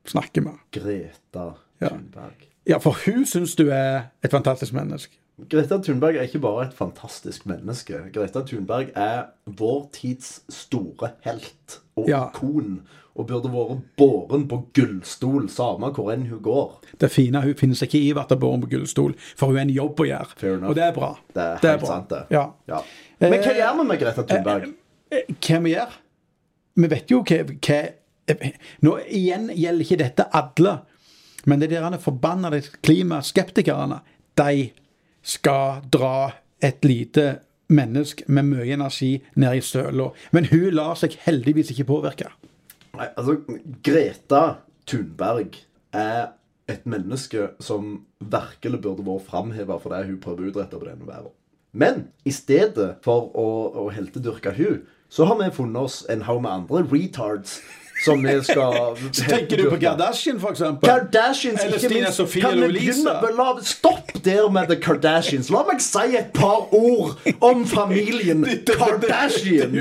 S2: snakker vi.
S3: Greta Thunberg.
S2: Ja, for hun syns du er et fantastisk menneske.
S3: Greta Thunberg er ikke bare et fantastisk menneske. Greta Thunberg er vår tids store helt og
S2: Ja.
S3: ikon. Og burde vært båren på gullstol, samme hvor enn hun går.
S2: Det fine hun finnes ikke i Vatterborn på gullstol, for hun har en jobb å gjøre.
S3: Fair enough.
S2: Og det er bra.
S3: Det er helt sant, det.
S2: Ja.
S3: Ja. Men hva
S2: Eh,
S3: gjør vi med Greta Thunberg?
S2: Eh, Hva vi gjør? Vi vet jo hva, hva eh, Nå igjen gjelder ikke dette alle, men det er de forbanna klimaskeptikerne. De skal dra et lite menneske med mye energi ned i søla. Men hun lar seg heldigvis ikke påvirke.
S3: Nei, altså, Greta Thunberg er et menneske som virkelig burde vært framheva for det hun prøver å utrette på denne verden. Men i stedet for å, å heltedyrke hun, så har vi funnet oss en haug med andre retards som vi skal
S2: Tenker du på
S3: heltedyrke.
S2: Kardashian, for eksempel?
S3: Kardashians,
S2: Eller
S3: ikke
S2: Stina
S3: minst.
S2: Sofie
S3: Kan
S2: eller
S3: vi
S2: Lisa?
S3: begynne med- la- Stopp der med The Kardashians. La meg si et par ord om familien Kardashian.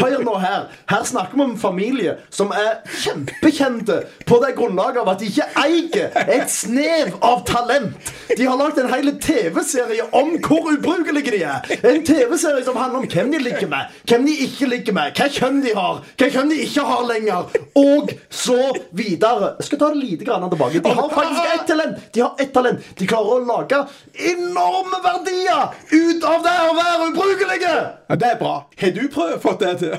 S3: Hør nå her. Her snakker vi om en familie som er kjempekjente på det grunnlaget av at de ikke eier et snev av talent. De har lagd en hel TV-serie om hvor ubrukelige de er. En TV-serie som handler om hvem de ligger med, hvem de ikke ligger med, hva kjønn de har, hva kjønn de ikke har lenger, og så videre. Jeg skal ta det lite grann tilbake. De har faktisk ett talent. De har ett talent. De klarer å lage enorme verdier ut av det å være ubrukelige.
S2: Ja, det er bra. Har du prøvd fått det til?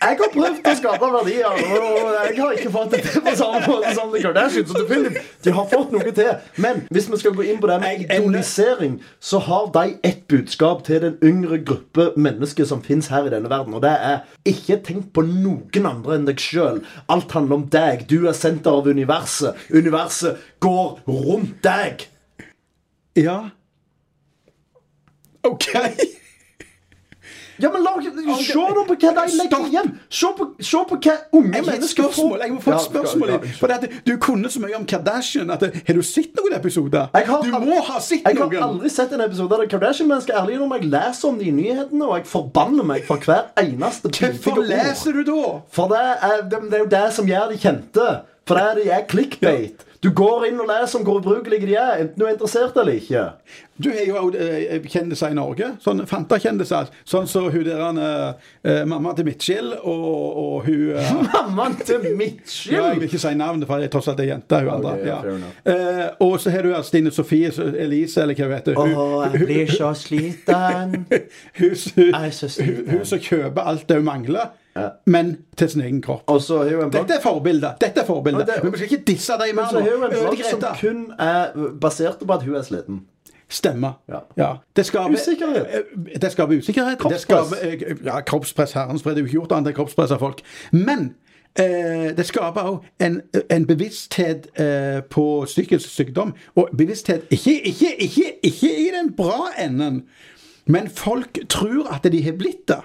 S3: Jeg har prøvd å skape verdier, og jeg har ikke fått det til på samme måte som The Kardashians. og definitivt, De har fått noe til. Men hvis vi skal gå inn på det med
S2: Jeg ender-
S3: idolisering, så har de et budskap til den yngre gruppe mennesker som fins her i denne verden, og det er ikke tenk på noen andre enn deg sjøl. Alt handler om deg. Du er senter av universet. Universet går rundt deg.
S2: Ja. OK.
S3: Ja, men la, Se nå på hva de legger
S2: Stopp.
S3: igjen. Se på, se på hva unge
S2: Jeg må
S3: mennesker får.
S2: Jeg må få et
S3: Ja, ja,
S2: spørsmål.
S3: ja,
S2: inn. For det at du kunne så mye om Kardashian at Har du sett noen episoder?
S3: Jeg har
S2: Du
S3: aldri-
S2: må ha sett
S3: Jeg har
S2: noen!
S3: aldri sett en episode av The Kardashian, men jeg skal ærlig innrømme jeg leser om de i nyhetene, og jeg forbanner meg for hver eneste
S2: Hvorfor leser du da?
S3: For det er, det, det er jo det som gjør de kjente. For det er de er clickbait. Du går inn og leser om hvor ubrukelige de er, enten du er interessert eller ikke.
S2: Du har jo også, eh, kjendiser i Norge. Sånn Fanta-kjendiser. Sånn som hun der eh, eh, mamma til Midtskill og, og hun eh,
S3: Mammaen til
S2: Ja, jeg vil
S3: Midtskill!
S2: ikke si navnet, for jeg tross alt er jente. hun andre.
S3: ja, fair
S2: ja. Eh, og så har du her Stine Sofie så- Elise, eller hva hun heter. Hun,
S3: jeg blir så sliten.
S2: hun, hun,
S3: Jeg er så
S2: hun,
S3: sliten.
S2: hun som kjøper alt det hun mangler. men til sin egen kropp.
S3: Og så har hun en blogg
S2: Dette er forbildet. Dette er
S3: Men
S2: forbildet.
S3: det-
S2: Men vi skal ikke disse altså. dem
S3: Men
S2: mer
S3: så har hun en sånn
S2: nå.
S3: blogg som
S2: Greta.
S3: kun er basert på at hun er sliten.
S2: Stemmer.
S3: Ja.
S2: Ja. Det skaper
S3: Usikkerhet.
S2: Eh, Det skaper usikkerhet.
S3: Kroppspress.
S2: Det skaper, eh, ja, kroppspress. Herren spredde jo ikke gjort annet enn kroppspress av folk. Men eh, det skaper òg en, en bevissthet eh, på psykisk sykdom. Og bevissthet ikke, ikke, ikke, ikke i den bra enden, men folk tror at de har blitt det.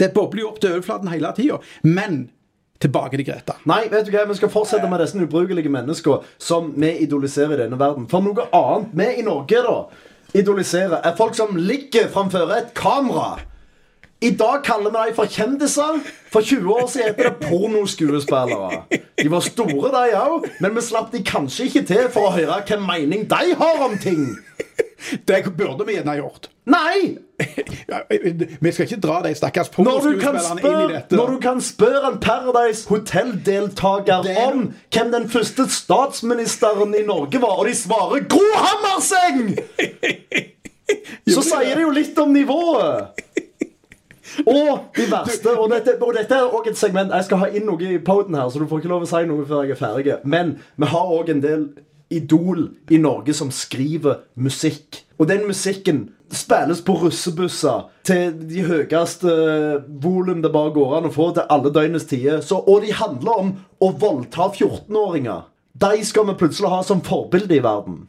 S2: Det bobler jo opp til overflaten hele tida. Men tilbake til Greta.
S3: Nei, vet du hva, vi skal fortsette med disse ubrukelige menneskene som vi idoliserer i denne verden. For noe annet vi i Norge da idoliserer, er folk som ligger framfor et kamera. I dag kaller vi dem for kjendiser. For 20 år siden het det pornoskuespillere. De var store, de òg, men vi slapp de kanskje ikke til for å høre hvilken mening de har om ting.
S2: Det burde vi gjerne ha gjort.
S3: Nei!
S2: Ja, eh, vi skal ikke dra de stakkars
S3: Når du, kan
S2: pornoskuespillerne inn i
S3: spørre,
S2: dette.
S3: når du kan spørre en Paradise Hotel-deltaker
S2: Det er-
S3: om hvem den første statsministeren i Norge var, og de svarer Gro Hammerseng! Så sier det jo litt om nivået. Og de verste. Og dette, og dette er òg et segment Jeg skal ha inn noe i poden her, så du får ikke lov å si noe før jeg er ferdig. Men vi har òg en del idol i Norge som skriver musikk. Og den musikken spilles på russebusser til de høyeste volum det bare går an å få, til alle døgnets tider. Så- Og de handler om å voldta 14-åringer. De skal vi plutselig ha som forbilde i verden.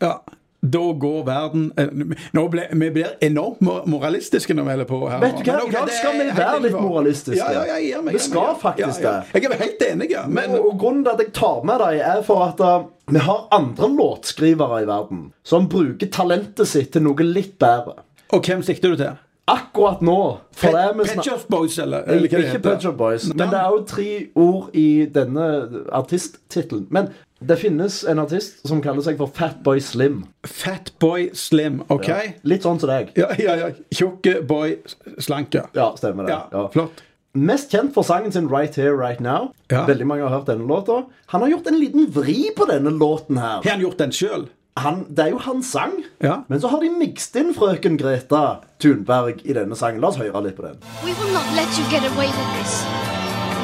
S2: Ja, da går verden eh, nå ble, Vi blir enormt mor- moralistiske når vi holder på her.
S3: Vet du hva?
S2: nå. Men ok,
S3: I dag
S2: det
S3: skal vi
S2: er helt
S3: være litt
S2: innenfor.
S3: moralistiske.
S2: Ja, ja, ja, jeg gir meg,
S3: Vi
S2: jeg gir
S3: skal
S2: meg, ja.
S3: faktisk
S2: Ja, ja.
S3: det.
S2: Jeg er helt enig, ja. Men
S3: og, og grunnen til at jeg tar med dem, er for at uh, vi har andre låtskrivere i verden som bruker talentet sitt til noe litt bedre.
S2: Og hvem sikter du til?
S3: Akkurat nå for det er vi
S2: Pet
S3: snak-
S2: Shop Boys, eller? eller hva det
S3: Ikke
S2: heter.
S3: Pet Shop Boys. Men
S2: Nei.
S3: det er jo tre ord i denne artisttittelen. Men det finnes en artist som kaller seg for Fatboy Slim.
S2: Fatboy Slim, OK?
S3: Litt sånn som deg.
S2: Ja, ja, ja. Tjukke boy slanke.
S3: Ja, stemmer det.
S2: Ja,
S3: Ja.
S2: flott.
S3: Mest kjent for sangen sin Right Here, Right Now.
S2: Ja.
S3: Veldig mange har hørt denne låta. Han har gjort en liten vri på denne låten her.
S2: Har han gjort den sjøl?
S3: han, det er jo hans sang,
S2: Ja.
S3: men så har de mikst inn frøken Greta Thunberg i denne sangen. La oss høre litt på den.
S4: We will not let you get away with this.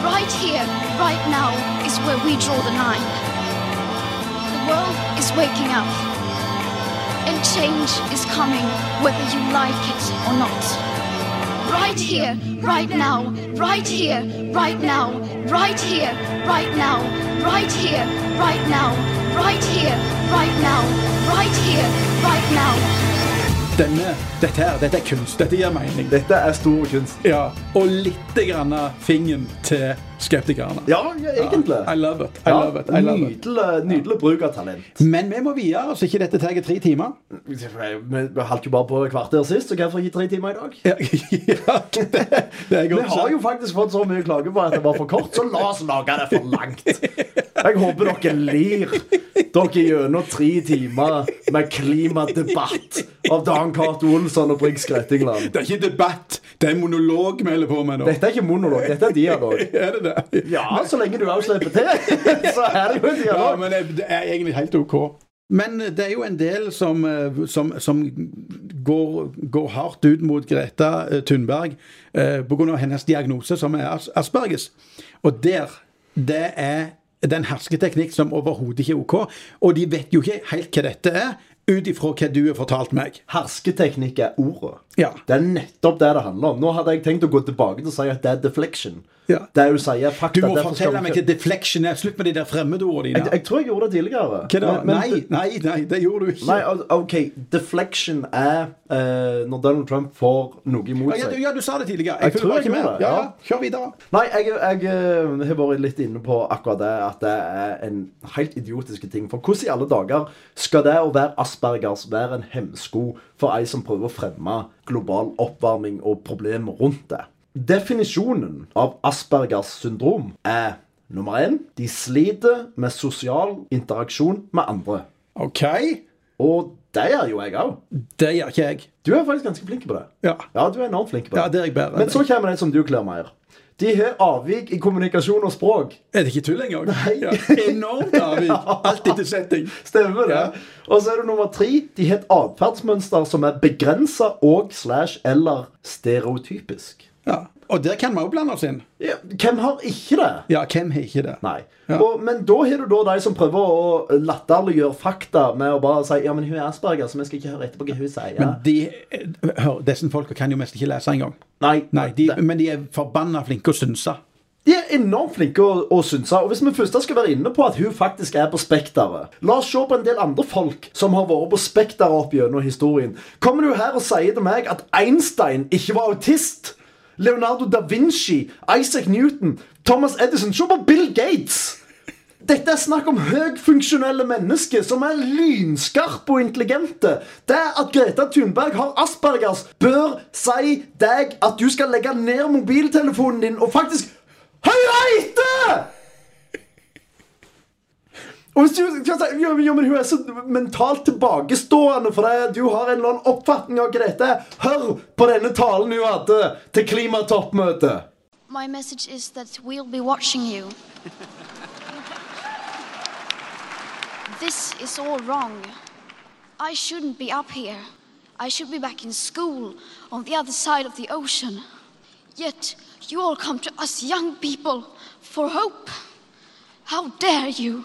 S4: Right here, right now, is where we draw the line. The world is waking up. And change is coming, whether you like it or not. Right here, right now, right here, right now, right here, right now, right here, right now, right here, right now, right here, right now.
S2: Denne, dette her, dette er kunst. Dette gir mening.
S3: Dette er stor kunst.
S2: Ja, og litt grann fingen til skeptikerne.
S3: Ja, ja egentlig.
S2: I love it. I love it, I love it.
S3: nydelig, nydelig bruk av talent.
S2: Men vi må videre, så ikke dette tar tre timer.
S3: Vi holdt jo bare på et kvarter sist, så hvorfor ikke tre timer i dag?
S2: Ja, ja, det, det er
S3: Vi
S2: godt
S3: har jo
S2: sagt.
S3: faktisk fått så mye klager på at det var for kort, så la oss lage det for langt. Jeg håper dere lir dere gjennom tre timer med klimadebatt av Dan Cato Olsson og Briggs Grettingland.
S2: Det er ikke debatt, det er monolog vi holder på med nå.
S3: Dette er ikke monolog, dette er dialog.
S2: Er det det?
S3: Ja, så lenge du også slipper til, så er det jo en
S2: Ja,
S3: dialog.
S2: men det, det er egentlig helt OK. Men det er jo en del som, eh, som, som går, går hardt ut mot Greta eh, Thunberg eh, pga. hennes diagnose, som er as- asperges. Og der Det er den hersketeknikk som overhodet ikke er OK. Og de vet jo ikke helt hva dette er, ut ifra hva du har fortalt meg.
S3: Hersketeknikk er ordet.
S2: Ja.
S3: Det er nettopp det det handler om. Nå hadde jeg tenkt å gå tilbake til å si at det er deflection.
S2: Ja.
S3: Det hun sier, er fakta.
S2: Du må
S3: derfor skal
S2: fortelle
S3: vi
S2: meg
S3: ikke-
S2: hva deflection er. Slutt med de der fremmedordene
S3: jeg,
S2: dine.
S3: jeg tror jeg gjorde det tidligere.
S2: Hva da?
S3: Men- men-
S2: Nei, nei, nei, det gjorde du ikke.
S3: Nei, al- OK. Deflection er eh, når Donald Trump får noe imot
S2: ja, du,
S3: seg.
S2: ja, du sa det tidligere.
S3: Jeg
S2: Jeg, følger
S3: tror
S2: bare
S3: jeg
S2: ikke med.
S3: gjorde det,
S2: Ja,
S3: ja.
S2: ja. Kjør videre.
S3: Nei, jeg, jeg eh, har vært litt inne på akkurat det at det er en helt idiotiske ting. For hvordan i alle dager skal det å være aspergers være en hemsko for ei som prøver å fremme global oppvarming og problemer rundt det? Definisjonen av aspergers syndrom er nummer én de sliter med sosial interaksjon med andre.
S2: OK.
S3: Og det gjør jo jeg òg.
S2: Det gjør ikke jeg.
S3: Du er faktisk ganske flink på det.
S2: Ja.
S3: ja du er enormt flink på det.
S2: Ja, det er jeg bedre enn
S3: Men så kommer den som du kler mer. De har avvik i kommunikasjon og språk.
S2: Er det ikke tull engang?
S3: Nei.
S2: Ja. Enormt avvik. Alt etter setting.
S3: Stemmer det?
S2: Ja.
S3: Og så er det nummer tre. De har et atferdsmønster som er begrensa og slash eller stereotypisk.
S2: Ja. Og der kan vi òg blande oss inn.
S3: Ja, hvem har ikke det?
S2: Ja, hvem har ikke det?
S3: Nei.
S2: Ja.
S3: Og, men da har du da de som prøver å latterliggjøre fakta med å bare si ja, men hun er asperger, så vi skal ikke høre etterpå hva hun sier.
S2: Men de, hør, disse folka kan jo mest ikke lese engang.
S3: nei,
S2: Nei, de,
S3: det-
S2: men de er forbanna flinke å synse.
S3: De er enormt flinke å, å synse. Og hvis vi først skal være inne på at hun faktisk er på Spekteret La oss se på en del andre folk som har vært på Spekteret opp gjennom historien. Kommer du her og sier til meg at Einstein ikke var autist? Leonardo da Vinci, Isaac Newton, Thomas Edison Se på Bill Gates! Dette er snakk om høyfunksjonelle mennesker som er lynskarpe og intelligente. Det at Greta Thunberg har aspergers, bør si deg at du skal legge ned mobiltelefonen din og faktisk høre etter! Og hvis du skal si jo, men- jo, men hun er så mentalt tilbakestående fordi du har en eller annen oppfatning av Grete. Hør på denne talen hun hadde til klimatoppmøtet.
S4: My message is that we'll be watching you. this is all wrong. I shouldn't be up here. I should be back in school on the other side of the ocean. Yet you all come to us young people for hope. How dare you!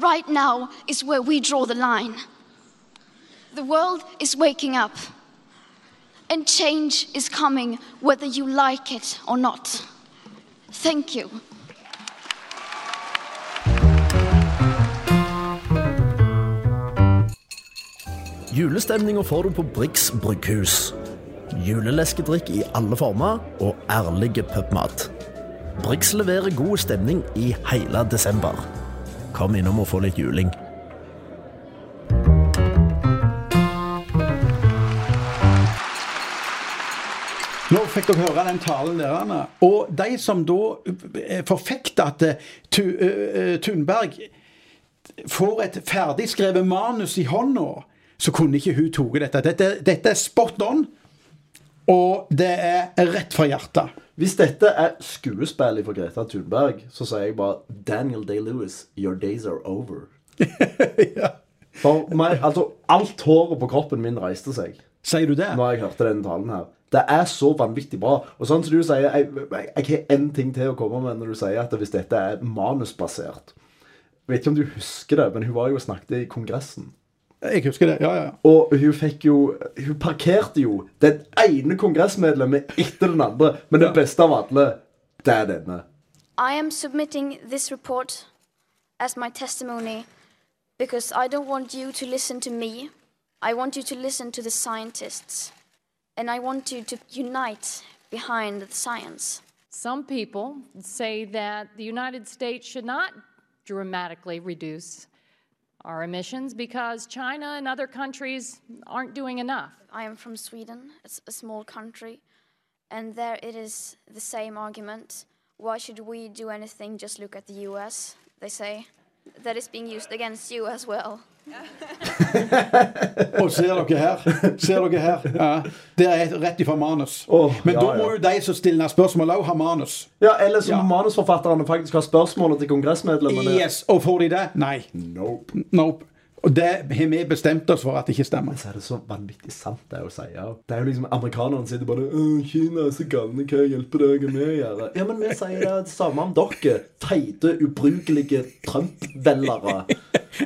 S4: right now, is where we draw the line. The world is waking up. And change is coming whether you like it or not. Thank you.
S1: Julestemninga får du på Brix brygghus. Juleleskedrikk i alle former og ærlige pubmat. Brix leverer god stemning i hele desember. Kom innom og få litt juling.
S2: Nå fikk dere høre den talen der, Anna. Og de som da eh, forfekter at eh, Tu- eh, eh, Thunberg får et ferdigskrevet manus i hånda, så kunne ikke hun tatt dette. dette. Dette er spot on, og det er rett fra hjertet.
S3: Hvis dette er skuespillet for Greta Thunberg, så sier jeg bare Daniel Day-Lewis, your days are over. For meg, altså, alt håret på kroppen min reiste seg
S2: Sier du det?
S3: når jeg hørte denne talen her. Det er så vanvittig bra. Og sånn som du sier, jeg, jeg, jeg har én ting til å komme med når du sier at hvis dette er manusbasert Jeg vet ikke om du husker det, men hun var jo og snakket i Kongressen.
S2: Jeg husker det. Ja, ja. ja.
S3: Og hun fikk jo Hun parkerte jo den ene kongressmedlemmet etter den andre. Men det
S2: Ja.
S3: beste av alle, det er denne.
S5: I am submitting this report as my testimony because I don't want you to listen to me. I want you to listen to the scientists. And I want you to unite behind the science.
S6: Some people say that the United States should not dramatically reduce our emissions because China and other countries aren't doing enough.
S5: I am from Sweden, it's a small country, and there it is the same argument. Why should we do anything? Just look at the US, they say. That is being used against you as well.
S2: Og ser dere her. Ser dere her. Ja. Det er rett ifra manus.
S3: Åh,
S2: Men
S3: ja,
S2: da må
S3: ja.
S2: jo de som stiller spørsmål, òg ha manus.
S3: Ja, Eller som
S2: Ja.
S3: manusforfatterne faktisk har spørsmålet til kongressmedlemmene.
S2: Yes, Og får de det? Nei.
S3: Nope.
S2: Nope. Og det har vi bestemt oss for at det ikke stemmer.
S3: Så er det så vanvittig sant, det å si. Ja. Det er jo liksom Amerikanerne sitter bare «Åh, 'Kina er så galne, hva hjelper det hva vi gjør?' Ja, men vi sier det samme om dere. Feite, ubrukelige Trump-velgere.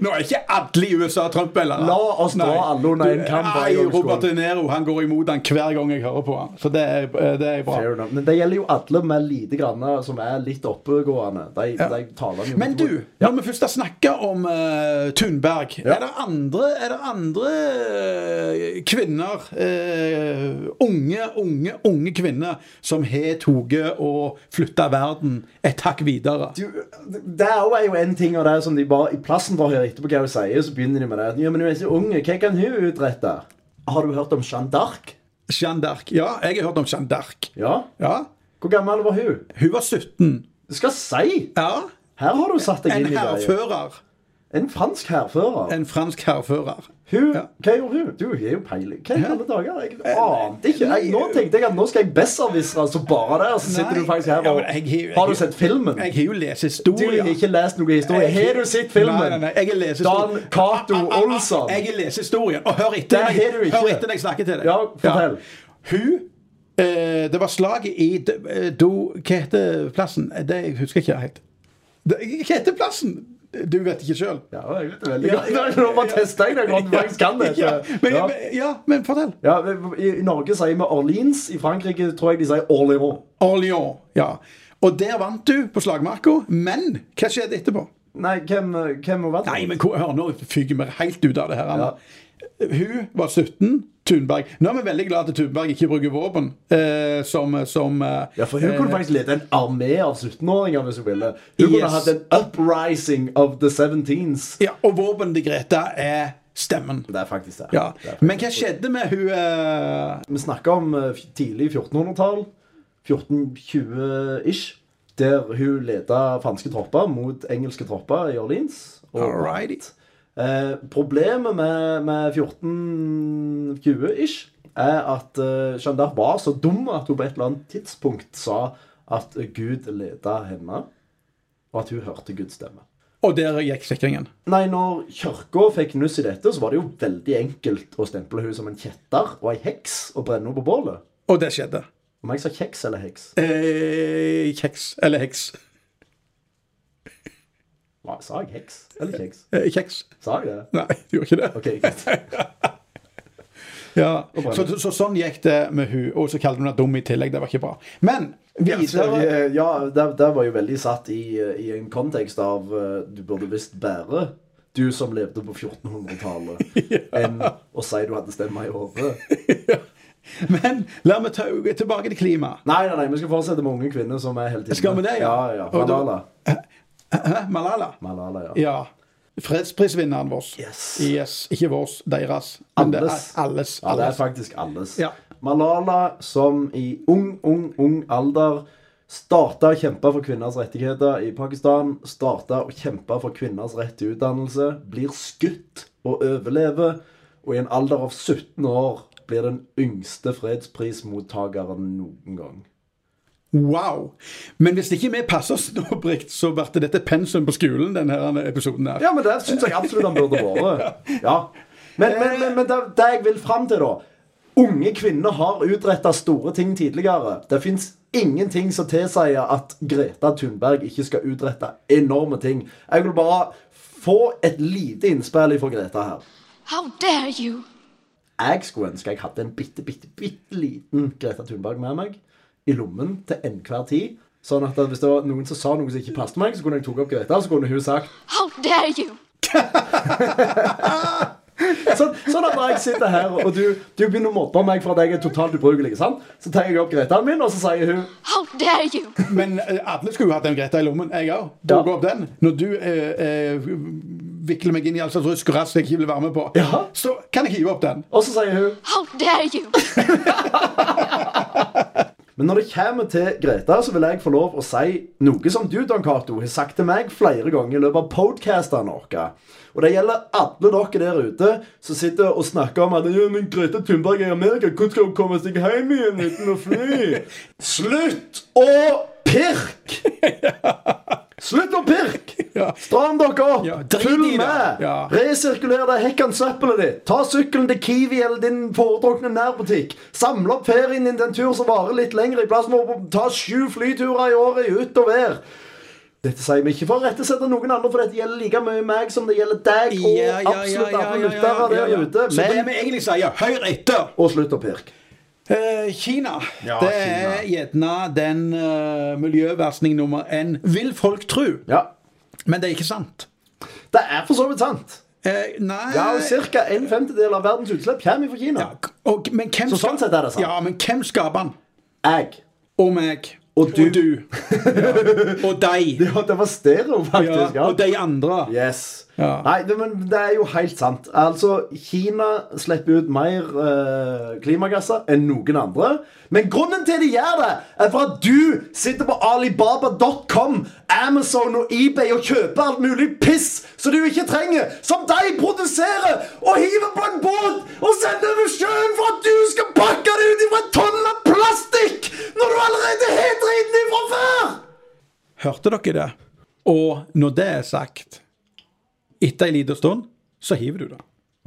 S2: Nå er ikke alle i USA Trump, eller?
S3: La oss dra alle under en kam på en
S2: Nei,
S3: gang, skål.
S2: Robert De Niro han går imot han hver gang jeg hører på han. Så det er, det er bra.
S3: Fair enough. Men det gjelder jo alle med lite grann som er litt oppegående. De, de taler jo
S2: Men du, når vi først har snakka om eh, Thunberg, er det andre, er det andre eh, kvinner eh, Unge, unge, unge kvinner som har tatt og flytta verden et hakk videre?
S3: du, det er jo- er jo en ting av det som de bare I plassen for å høre etterpå hva hun sier, så begynner de med det. Ja, men hun er så ung, hva kan hun utrette? Har du hørt om Jeanne d'Arc?
S2: Jeanne d'Arc. Ja, jeg har hørt om Jeanne d'Arc.
S3: Ja.
S2: Ja,
S3: Hvor gammel var hun?
S2: hun var 17.
S3: Du skal si!
S2: Ja,
S3: Her har du satt deg
S2: en
S3: inn i greia.
S2: hærfører.
S3: En fransk hærfører.
S2: En fransk hærfører.
S3: Hun,
S2: Ja.
S3: Hva gjorde hun? Du har jo peiling. Hva i
S2: Ja.
S3: alle dager? Jeg ante ikke. Jeg, nå tenkte jeg at nå skal jeg besserwissere altså bare der, så sitter
S2: Nei.
S3: du faktisk her
S2: Ja,
S3: og
S2: men jeg- jeg-
S3: Har du sett filmen?
S2: Jeg har jo lest
S3: Du har
S2: historier.
S3: ikke lest noe historie. Har du sett filmen?
S2: Nei, nei, nei, jeg leser
S3: Dan
S2: Ah,
S3: Cato Olsson.
S2: Jeg leser historien. Og hør
S3: Det
S2: etter når jeg-
S3: har du ikke.
S2: Hør etter når jeg snakker til deg.
S3: Ja, fortell.
S2: Hun eh, Det var slaget i D- eh, Do... Hva heter plassen? Eh, Det jeg husker ikke helt. Det, hva heter plassen? Du vet ikke sjøl.
S3: Ja, jeg vet det veldig godt. Nå bare tester jeg deg om du faktisk kan det.
S2: Ja, men,
S3: Ja.
S2: men- ja, men fortell.
S3: Ja, I i Norge sier vi Orleans. I Frankrike tror jeg de sier Orléans.
S2: Orléans. Ja. Og der vant du på slagmarka, men hva skjedde etterpå?
S3: Nei, hvem, hvem var det?
S2: Nei, men hvor- hør, nå fyker vi helt ut av det her. Anna.
S3: Ja.
S2: Hun var 17. Thunberg. Nå er vi veldig glad at Thunberg ikke bruker våpen eh, som, som eh,
S3: Ja, for Hun kunne
S2: eh,
S3: faktisk lede en armé av 17-åringer hvis hun ville. Hun kunne
S2: Yes.
S3: hatt en uprising of the 17s.
S2: eh, ja, Og våpenet til Greta er stemmen.
S3: Det er faktisk det.
S2: Ja.
S3: det er faktisk.
S2: Men hva skjedde med hun eh,
S3: Vi snakker om eh, f- tidlig 1400-tall. 1420-ish. Der hun leda franske tropper mot engelske tropper i Orleans. og-
S2: Alrighty.
S3: Eh, problemet med, med 1420-ish er at eh, Jeanne d'Arc var så dum at hun på et eller annet tidspunkt sa at Gud leda henne, og at hun hørte Guds stemme.
S2: Og der gikk sikringen.
S3: Nei, når kirka fikk nuss i dette, så var det jo veldig enkelt å stemple hun som en kjetter og ei heks og brenne henne på bålet.
S2: Og det skjedde.
S3: Om jeg sa kjeks eller heks?
S2: Eh, kjeks. Eller heks.
S3: Hva, sa jeg heks eller kjeks?
S2: Eh, kjeks.
S3: Sa jeg det?
S2: Nei, du gjorde ikke det.
S3: Ok, greit.
S2: Ja,
S3: brenne.
S2: så, så sånn gikk det med hun Og så kalte hun henne dum i tillegg. Det var ikke bra. Men videre
S3: Eh, Ja, der, der var jo veldig satt i, eh, i en kontekst av eh, Du burde visst bære, du som levde på 1400-tallet, enn å si du hadde stemma i håret.
S2: Men la meg ta tilbake til klima.
S3: Nei, nei, nei, vi skal fortsette med unge kvinner som er hele tiden
S2: Skal vi det, ja?
S3: Ja, ja.
S2: Og da-
S3: Malala.
S2: Hæ? Malala.
S3: Malala, ja.
S2: Ja. Fredsprisvinneren vår.
S3: Yes.
S2: Yes, Ikke vårs, deres. Men det er
S3: Alles.
S2: alles.
S3: Ja, det er
S2: alles.
S3: faktisk alles.
S2: Ja.
S3: Malala som i ung, ung, ung alder starta å kjempe for kvinners rettigheter i Pakistan. Starta å kjempe for kvinners rett til utdannelse. Blir skutt og overlever. Og i en alder av 17 år blir den yngste fredsprismottakeren noen gang.
S2: Wow! Men hvis ikke vi passer oss nå, Brikt, så ble dette pensum på skolen, denne episoden her.
S3: Ja, men det syns jeg absolutt han burde vært. Ja. Men, men, men, men det, det jeg vil fram til, da Unge kvinner har utretta store ting tidligere. Det fins ingenting som tilsier at Greta Thunberg ikke skal utrette enorme ting. Jeg vil bare få et lite innspill fra Greta her.
S4: How dare you?
S3: Jeg skulle ønske jeg hadde en bitte, bitte, bitte liten Greta Thunberg med meg i lommen til enhver tid. Sånn at hvis det var noen som sa noe som ikke passet meg, så kunne jeg tatt opp Greta, så kunne hun sagt
S4: How dare you?
S3: Sånn, sånn at når jeg sitter her, og du, du begynner å mobbe meg for at jeg er totalt ubrukelig, sant? så tar jeg opp Gretaen min, og så sier hun
S4: How dare you?
S2: Men eh, alle skulle jo hatt en Greta i lommen. Jeg òg. Du
S3: Ja.
S2: går opp den. Når du eh, eh, vikler meg inn i all slags rusk og rask jeg ikke vil være med på,
S3: Ja.
S2: så kan jeg hive opp den.
S3: Og så sier hun
S4: How dare you?
S3: Men når det kommer til Greta, så vil jeg få lov å si noe som du, Don Cato, har sagt til meg flere ganger i løpet av podcastene våre. Og det gjelder alle dere der ute som sitter og snakker om at ja, men Greta Thunberg er i Amerika, hvordan skal hun komme seg hjem igjen uten å fly? Slutt å pirk! Slutt å pirk!
S2: Ja.
S3: Stram dere opp!
S2: Ja, drit
S3: Følg
S2: i det.
S3: med!
S2: Ja.
S3: Resirkuler det hekkan søppelet ditt. Ta sykkelen til Kiwi eller din foretrukne nærbutikk. Samle opp ferien din til en tur som varer litt lenger, i plassen for å ta sju flyturer i året i ut og vær. Dette sier vi ikke for å rettesette noen andre, for dette gjelder like mye meg som det gjelder deg og absolutt alle lyttere der ute.
S2: Så det
S3: Men,
S2: vi egentlig sier, hør etter!
S3: og slutt å pirke.
S2: Eh, Kina.
S3: Ja,
S2: det er gjerne den eh, miljøversning nummer én, vil folk tro.
S3: Ja.
S2: Men det er ikke sant.
S3: Det er for så vidt sant.
S2: Eh, nei
S3: Ja, og Ca. en femtedel av verdens utslipp kommer fra Kina.
S2: Ja, og, men hvem
S3: Så sånn sett er det sant.
S2: Ja, men hvem skaper den?
S3: Jeg.
S2: Og meg.
S3: Og
S2: Og
S3: du.
S2: du. Og deg.
S3: Ja, det var stereo,
S2: Ja,
S3: faktisk. dus Ja.
S2: og de andre.
S3: Yes.
S2: Ja.
S3: Nei, det, men det er jo helt sant. Altså, Kina slipper ut mer eh, klimagasser enn noen andre. Men grunnen til de gjør det, er for at du sitter på alibaba.com, Amazon og eBay og kjøper alt mulig piss som du ikke trenger, som de produserer og hiver på en båt og sender over sjøen for at du skal pakke det ut ifra et tonn med plastikk når du allerede har driten ifra før!
S2: Hørte dere det? Og når det er sagt, etter en liten stund, så hiver du det.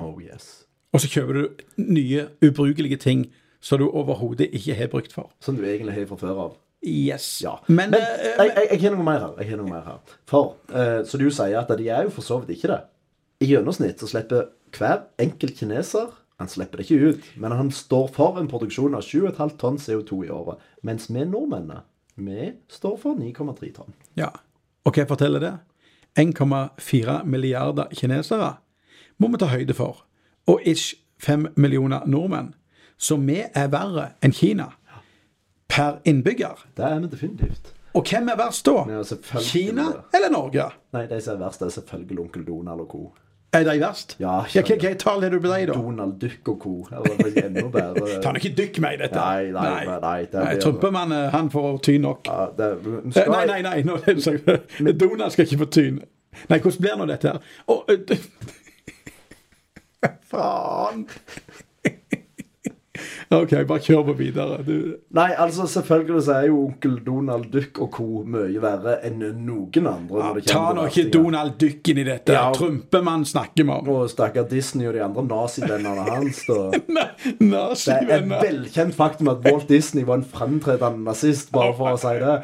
S3: Oh, yes.
S2: Og så kjøper du nye, ubrukelige ting som du overhodet ikke har brukt for.
S3: Som du egentlig har fra før av.
S2: Yes.
S3: Ja.
S2: Men,
S3: Men
S2: eh,
S3: jeg, jeg, jeg har noe mer her. Jeg har noe mer her. For, eh, så du sier at de er jo for så vidt ikke det. I gjennomsnitt så slipper hver enkelt kineser Han slipper det ikke ut, men han står for en produksjon av 7,5 tonn CO2 i året. Mens vi nordmennene, vi står for 9,3 tonn.
S2: Ja. Og hva forteller det? 1,4 milliarder kinesere må vi ta høyde for. Og ish 5 millioner nordmenn. Så vi er verre enn Kina per innbygger.
S3: Det er vi definitivt.
S2: Og hvem er verst da?
S3: Ja, selvfølgelig.
S2: Kina eller Norge?
S3: Nei, de som er verst, det er selvfølgelig onkel Donald og co.
S2: Er de verst?
S3: Ja,
S2: hva- hva- Hva tall har du på deg, da?
S3: Donald Duck og co. Det var faktisk enda bedre.
S2: Kan ikke dykke meg i dette?
S3: Nei, nei, nei, nei, det blir-
S2: Trumpemann, eh, han får tyn nok.
S3: Ja, det,
S2: Eh,
S3: skal,
S2: Nei, nei, nei. nå er det sagt. Donald skal ikke få tyn. Nei, hvordan blir nå dette her? Å, eh, Faen! OK, bare kjør på videre. Du.
S3: Nei, altså selvfølgelig så er jo onkel Donald Duck og co. mye verre enn noen andre. når det kommer til
S2: Ta nå ikke
S3: verstinger.
S2: Donald Duck inn i dette.
S3: Ja.
S2: Trumpemann snakker vi om.
S3: Og stakkar Disney og de andre nazivennene hans. Da. Det er et
S2: Nazivenner.
S3: velkjent faktum at Walt Disney var en fremtredende nazist, bare for å si det.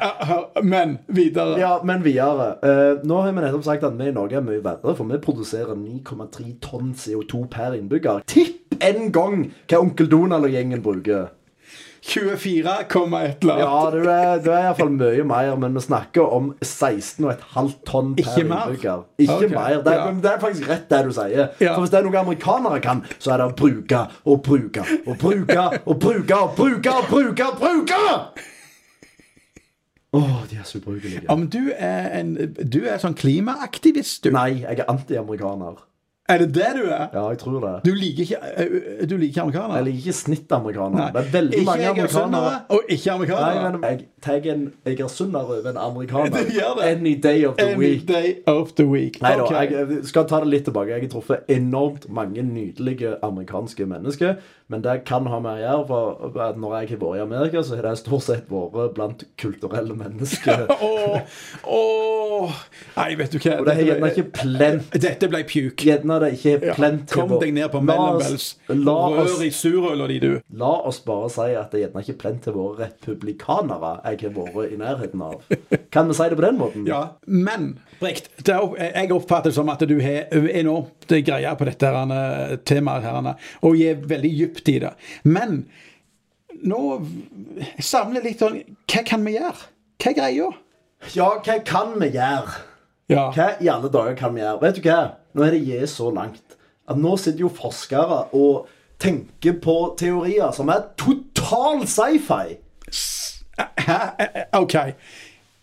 S2: Men videre.
S3: Ja, men videre. Eh, nå har vi nettopp sagt at vi i Norge er mye verre, for vi produserer 9,3 tonn CO2 per innbygger. Tipp en gang hva onkel Donald og gjengen bruker.
S2: 24, komma et eller
S3: Ja,
S2: annet.
S3: du er, du er iallfall mye mer, men vi snakker om 16,5 tonn per
S2: Ikke mer?
S3: innbygger. Ikke
S2: Ok,
S3: mer. Det er,
S2: ja.
S3: det er faktisk rett det du sier.
S2: Ja.
S3: For hvis det er noe amerikanere kan, så er det å bruke og bruke og bruke og bruke og bruke og bruke og bruke! Å, de er så ubrukelige.
S2: Om du er en Du er sånn klimaaktivist, du.
S3: Nei, jeg er anti-amerikaner.
S2: Er det det du er?
S3: Ja, jeg tror det.
S2: Du liker ikke, eh, du liker ikke amerikanere?
S3: Jeg liker ikke
S2: Nei.
S3: snitt-amerikanere. Det er veldig
S2: ikke
S3: mange
S2: egersundere
S3: amerikanere.
S2: og ikke
S3: Nei,
S2: amerikanere.
S3: men jeg tar en egersunder over en amerikaner
S2: Du gjør det.
S3: any day of the
S2: Any
S3: week.
S2: day of the week.
S3: Nei da,
S2: Ok.
S3: jeg jeg skal ta det litt tilbake. Jeg har truffet enormt mange nydelige amerikanske mennesker. Men det kan ha med å gjøre, for at når jeg har vært i Amerika, så har det stort sett vært blant kulturelle mennesker.
S2: Åh, åh. Nei, vet du hva
S3: Og det har gjerne ikke plent.
S2: Dette ble pjuk.
S3: Gjerne det ikke er
S2: Ja.
S3: plent. til
S2: Kom
S3: vår-
S2: deg ned på
S3: La oss-
S2: mellombels.
S3: La
S2: Rør i
S3: oss,
S2: surøla di, du.
S3: la oss bare si at det gjerne ikke er plent til våre republikanere jeg har vært i nærheten av. Kan vi si det på den måten?
S2: Ja, Men Brikt, det er opp- jeg oppfatter det som at du har enormt greier på dette her, eh, temaet her, Anna, og gir veldig dypt i det. Men nå jeg savner litt sånn Hva kan vi gjøre? Hva er greia?
S3: ja, hva kan vi gjøre?
S2: Ja.
S3: Hva i alle dager kan vi gjøre? Vet du hva? Nå er det gitt så langt at nå sitter jo forskere og tenker på teorier som er total sci-fi.
S2: Hæ? Eh, eh, OK.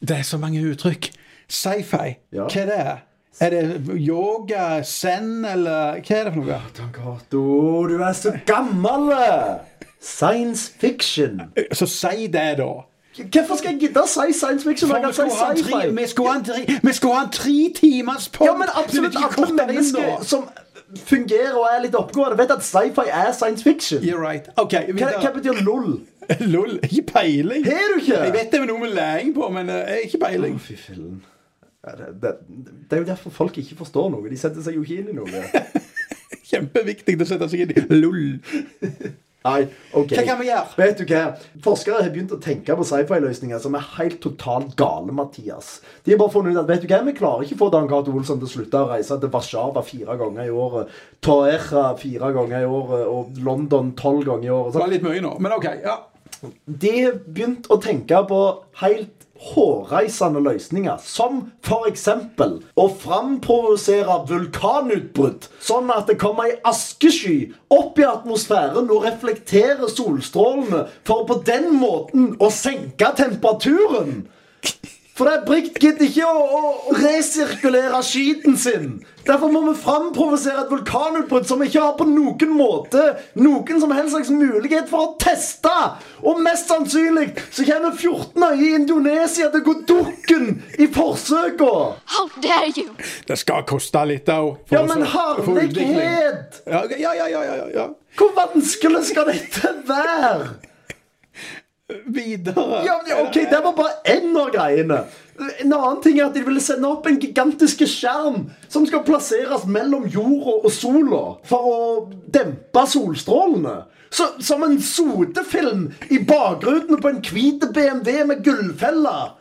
S2: Det er så mange uttrykk. Sci-fi,
S3: Ja.
S2: hva er det? Er det yoga, zen, eller hva er det for noe?
S3: Tankato, du er så gammel! Science fiction.
S2: Så si det, da.
S3: Hvorfor skal jeg gidde å si science fiction når
S2: For
S3: jeg kan si
S2: vi skulle ha en tre-
S3: sci-fi?
S2: vi skulle ha en tre- vi skulle ha en tre timers pod!
S3: Ja, men absolutt alle mennesker som fungerer og er litt oppegående, vet at sci-fi er science fiction.
S2: You're right. OK.
S3: Hva, hva
S2: videre.
S3: betyr lol?
S2: Lol. Ikke peiling.
S3: Har du ikke?
S2: Jeg vet det er noe med læring på, men eh, ikke peiling.
S3: Fy fillen. Ja, Det, det, det er jo derfor folk ikke forstår noe. De setter seg jo ikke inn i noe.
S2: Kjempeviktig å sette seg inn i. Lol.
S3: Nei, ok.
S2: Hva kan vi gjøre?
S3: Vet du hva? Forskere har begynt å tenke på sci-fi-løsninger som er helt totalt gale, Mathias. De har bare funnet ut at vet du hva? vi klarer ikke å få Dan Cato Olsson til å slutte å reise til Warszawa fire ganger i året, Taecha fire ganger i året og London tolv ganger i året.
S2: Det
S3: Så
S2: var litt mye nå, men OK. ja.
S3: de har begynt å tenke på helt hårreisende løsninger, som for eksempel å framprovosere vulkanutbrudd, sånn at det kommer ei askesky opp i atmosfæren og reflekterer solstrålene, for på den måten å senke temperaturen. For det er Brikt gidder ikke å, å resirkulere skiten sin. Derfor må vi framprovosere et vulkanutbrudd som ikke har på noen måte noen som helst slags mulighet for å teste. Og mest sannsynlig så kommer 14 øyer i Indonesia til å gå dukken i forsøka.
S4: How dare you?
S2: Det skal koste litt òg.
S3: Ja, men herlighet!
S2: Ja, ja, ja, ja, ja, ja.
S3: Hvor vanskelig skal dette være?
S2: Videre.
S3: Ja, men ok, Det var bare én av greiene. En annen ting er at De ville sende opp en gigantisk skjerm som skal plasseres mellom jorda og sola for å dempe solstrålene. Så, som en sotefilm i bakrutene på en hvit BMW med gullfeller.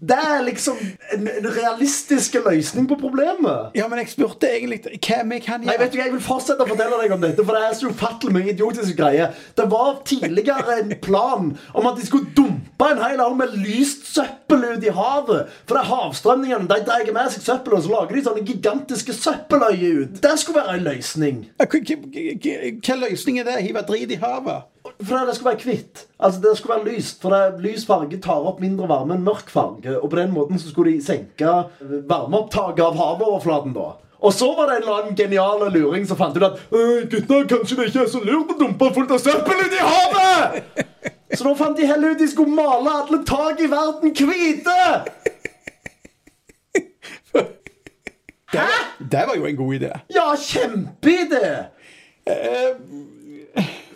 S3: Det er liksom en, en realistisk løsning på problemet.
S2: Ja, men jeg spurte egentlig hva vi kan
S3: Nei, vet du, hva, Jeg vil fortsette å fortelle deg om dette, for det er så ufattelig mye idiotiske greier. Det var tidligere en plan om at de skulle dumpe en hel haug med lyst søppel ut i havet. For det er havstrømningene de drar med seg søppel, og så lager de sånne gigantiske søppeløyer ut. Det skulle være en løsning.
S2: Hva- hva- hva- Hva løsning er det? Hive drit i havet?
S3: For det, det skulle være hvitt. Altså, det skulle være lyst. For det, lys farge tar opp mindre varme enn mørk farge. Og på den måten så skulle de senke varmeopptaket av havoverflaten, da. Og så var det en eller annen genial luring som fant ut at «Øh, gutta, kanskje det ikke er så lurt å dumpe fullt av søppel ut i havet! Så da fant de heller ut de skulle male alle tak i verden hvite!
S2: Det var jo en god idé.
S3: Ja, kjempeidé!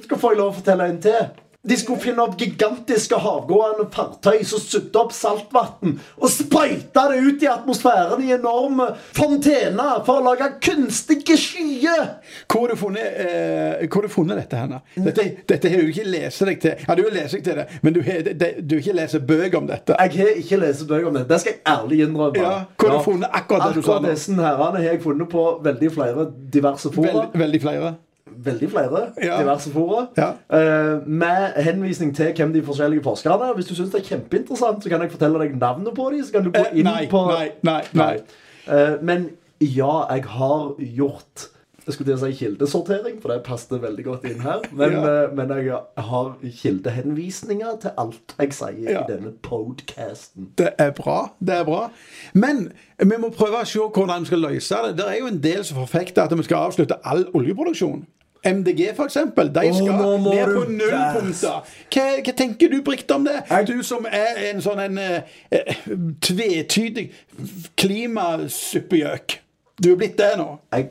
S3: Skal få jeg lov å fortelle en til? De skulle finne opp gigantiske havgående fartøy som sugde opp saltvann og sprøyta det ut i atmosfæren i enorme fontener for å lage kunstige skyer.
S2: Hvor har du funnet, eh, hvor har du funnet dette? henne? Dette, dette har du ikke lest deg til. Ja, du har lest deg til det, men du har det- du har ikke lest bøker om dette.
S3: Jeg har ikke lest bøker om det. Det skal jeg ærlig innrømme.
S2: Ja, hvor har du funnet akkurat det du sa
S3: Akkurat
S2: nå?
S3: disse herrene har jeg funnet på veldig flere diverse fora.
S2: Veld, veldig flere.
S3: veldig flere
S2: Ja.
S3: diverse fora.
S2: Ja.
S3: eh, med henvisning til hvem de forskjellige forskerne er. Hvis du syns det er kjempeinteressant, så kan jeg fortelle deg navnet på dem. Så kan du gå
S2: Eh,
S3: inn
S2: nei,
S3: på
S2: nei, nei, nei.
S3: Eh, men ja, jeg har gjort jeg skulle til å si kildesortering, for det passet veldig godt inn her. Men,
S2: Ja.
S3: eh, men jeg har kildehenvisninger til alt jeg sier
S2: Ja.
S3: i denne podcasten.
S2: Det er bra. det er bra. Men vi må prøve å se hvordan vi skal løse det. Det er jo en del som forfekter at vi skal avslutte all oljeproduksjon. MDG, for eksempel, de
S3: Å,
S2: skal
S3: nå må
S2: ned
S3: du
S2: på null
S3: bæs.
S2: punkter. Hva, hva tenker du, Brikt, om det?
S3: Jeg-
S2: Du som er en sånn en eh, eh, tvetydig klimasuppegjøk. Du er blitt det nå.
S3: Jeg,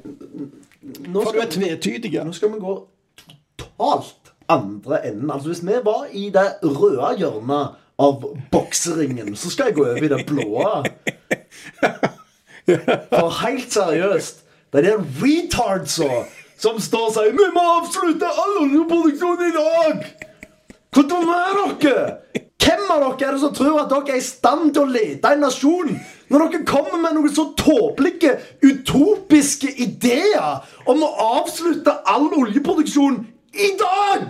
S3: nå
S2: For du er
S3: skal,
S2: tvetydig.
S3: nå skal vi gå totalt andre enden. Altså Hvis vi var i det røde hjørnet av bokseringen, så skal jeg gå over i det blå. For helt seriøst, det er de retardsa som står og sier 'Vi må avslutte all oljeproduksjon i dag'! Hvor dumme er dere? Hvem av dere er det som tror at dere er i stand til å lede en nasjon når dere kommer med noen så tåpelige, utopiske ideer om å avslutte all oljeproduksjon i dag?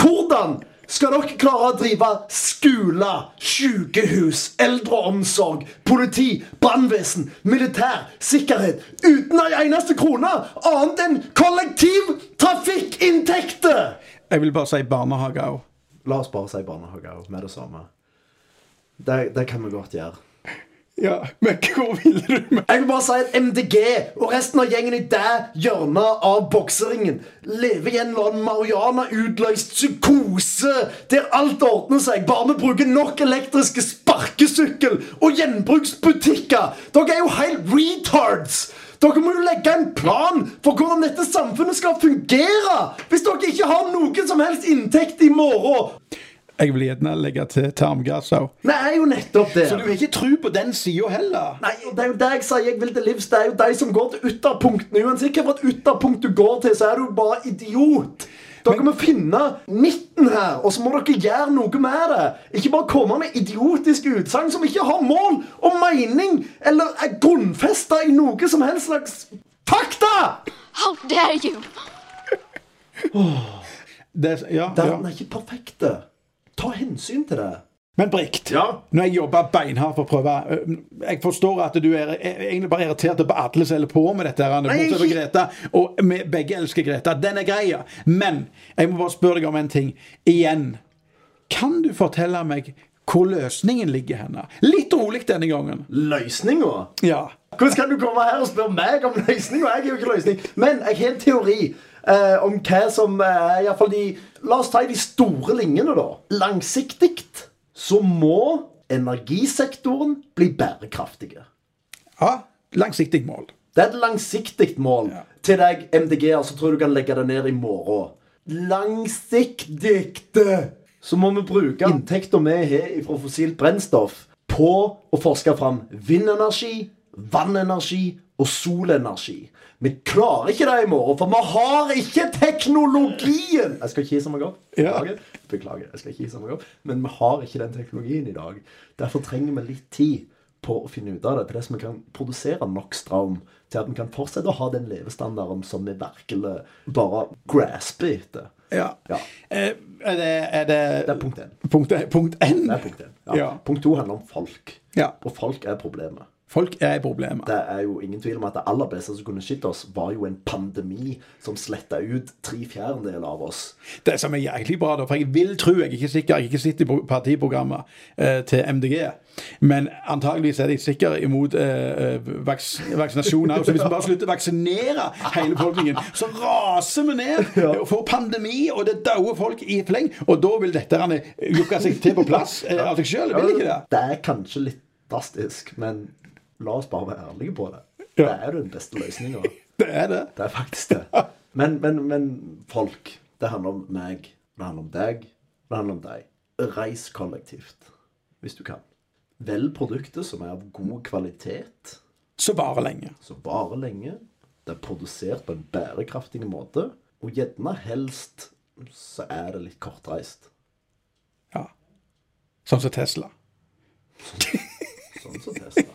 S3: Hvordan skal dere klare å drive skole, sykehus, eldreomsorg, politi, brannvesen, militær, sikkerhet uten ei eneste krone annet enn kollektivtrafikkinntekter?
S2: Jeg vil bare si barnehage òg.
S3: La oss bare si barnehage også, med det samme. Det, det kan vi godt gjøre.
S2: Ja, men hvor ville du med
S3: Jeg vil bare si at MDG og resten av gjengen i det hjørnet av bokseringen lever i en eller annen Mariana-utløst psykose der alt ordner seg, bare vi bruker nok elektriske sparkesykkel og gjenbruksbutikker. Dere er jo helt retards! Dere må jo legge en plan for hvordan dette samfunnet skal fungere! Hvis dere ikke har noen som helst inntekt i morgen!
S2: Jeg vil gjerne legge til tarmgass òg.
S3: Vi er jo nettopp der.
S2: Så du har ikke tro på den sida heller?
S3: Nei, og det er jo det jeg sier jeg vil til livs. Det er jo de som går til ytterpunktene. Uansett hvilket ytterpunkt du går til, så er du bare idiot. Dere må finne midten her, og så må dere gjøre noe med det. Ikke bare komme med idiotiske utsagn som ikke har mål og mening, eller er grunnfesta i noe som helst slags fakta!
S4: How dare you?
S2: Det, ja,
S3: Den
S2: ja.
S3: er ikke perfekte. Ta hen hensyn til det.
S2: Men Brikt,
S3: Ja.
S2: når jeg jobber beinhardt for å prøve øh, Jeg forstår at du er er egentlig bare irritert på alle som holder på med dette. her, Anne, bortsett fra Greta, og vi begge elsker Greta. Den er greia. Men jeg må bare spørre deg om en ting. Igjen. Kan du fortelle meg hvor løsningen ligger henne? Litt rolig denne gangen.
S3: Løsninga?
S2: Ja.
S3: Hvordan kan du komme her og spørre meg om løsninga? Jeg er jo ikke løsning. Men jeg har en teori eh, om hva som eh, i hvert fall de, La oss ta i de store linjene, da. Langsiktig så må energisektoren bli bærekraftige.
S2: ja. Langsiktig mål.
S3: Det er et langsiktig mål
S2: Ja.
S3: til deg, MDG-er, så tror jeg du kan legge det ned i morgen. Langsiktig! Så må vi bruke inntekter vi har fra fossilt brennstoff, på å forske fram vindenergi, vannenergi og solenergi. Vi klarer ikke det i morgen, for vi har ikke teknologien! Jeg skal ikke hisse meg opp.
S2: Ja.
S3: Beklager. Beklager, jeg skal ikke hisse meg opp. Men vi har ikke den teknologien i dag. Derfor trenger vi litt tid på å finne ut av det, til det som vi kan produsere nok strøm til at vi kan fortsette å ha den levestandarden som vi virkelig bare grasper etter.
S2: Ja.
S3: Ja.
S2: Eh, Er det, er det,
S3: Det er punkt én.
S2: punkt én? Punkt én?
S3: Det er punkt én. Ja.
S2: Ja.
S3: Punkt to handler om folk.
S2: Ja.
S3: Og folk er problemet.
S2: Folk er problemet.
S3: Det er jo ingen tvil om at det aller beste som kunne skjedd oss, var jo en pandemi som sletta ut tre fjerdedeler av oss.
S2: Det som er jæklig bra, da, for jeg vil tro, jeg er ikke sikker, jeg har ikke sett i pro- partiprogrammet eh, til MDG, men antageligvis er de sikre imot eh, eh, vaks vaksinasjon her. Så hvis vi bare slutter å vaksinere hele befolkningen, så raser vi ned og får pandemi, og det dauer folk i fleng. Og da vil dette her, eh, lukke seg til på plass eh, av seg sjøl, vil ikke det?
S3: Det er kanskje litt drastisk, men la oss bare være ærlige på det.
S2: Ja.
S3: Det er jo den beste løsninga.
S2: Det er det.
S3: Det er faktisk det. Men, men, men folk. Det handler om meg. Det handler om deg. Det handler om deg. Reis kollektivt, hvis du kan. Velg produkter som er av god kvalitet,
S2: Så varer lenge.
S3: som varer lenge. Det er produsert på en bærekraftig måte. Og gjerne helst så er det litt kortreist.
S2: Ja. Sånn som Tesla.
S3: Sånn som Tesla.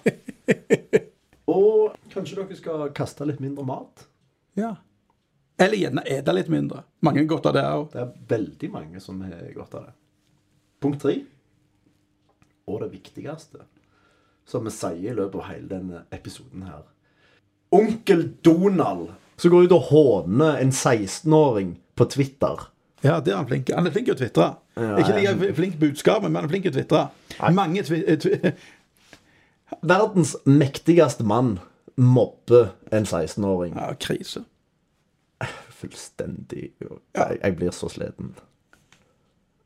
S3: Og kanskje dere skal kaste litt mindre mat?
S2: Ja. Eller gjerne ete litt mindre. Mange godt av det òg.
S3: Det er veldig mange som har godt av det. Punkt tre, og det viktigste, som vi sier i løpet av hele denne episoden her Onkel Donald som går ut og håner en 16-åring på Twitter.
S2: Ja, det er han flink. Han er flink til å tvitre. Ikke like flink budskapet, men han er flink til å tvitre. Mange tvi... eh, tvi
S3: Verdens mektigste mann mobber en 16-åring.
S2: ja, krise.
S3: Fullstendig jeg, jeg blir så sliten.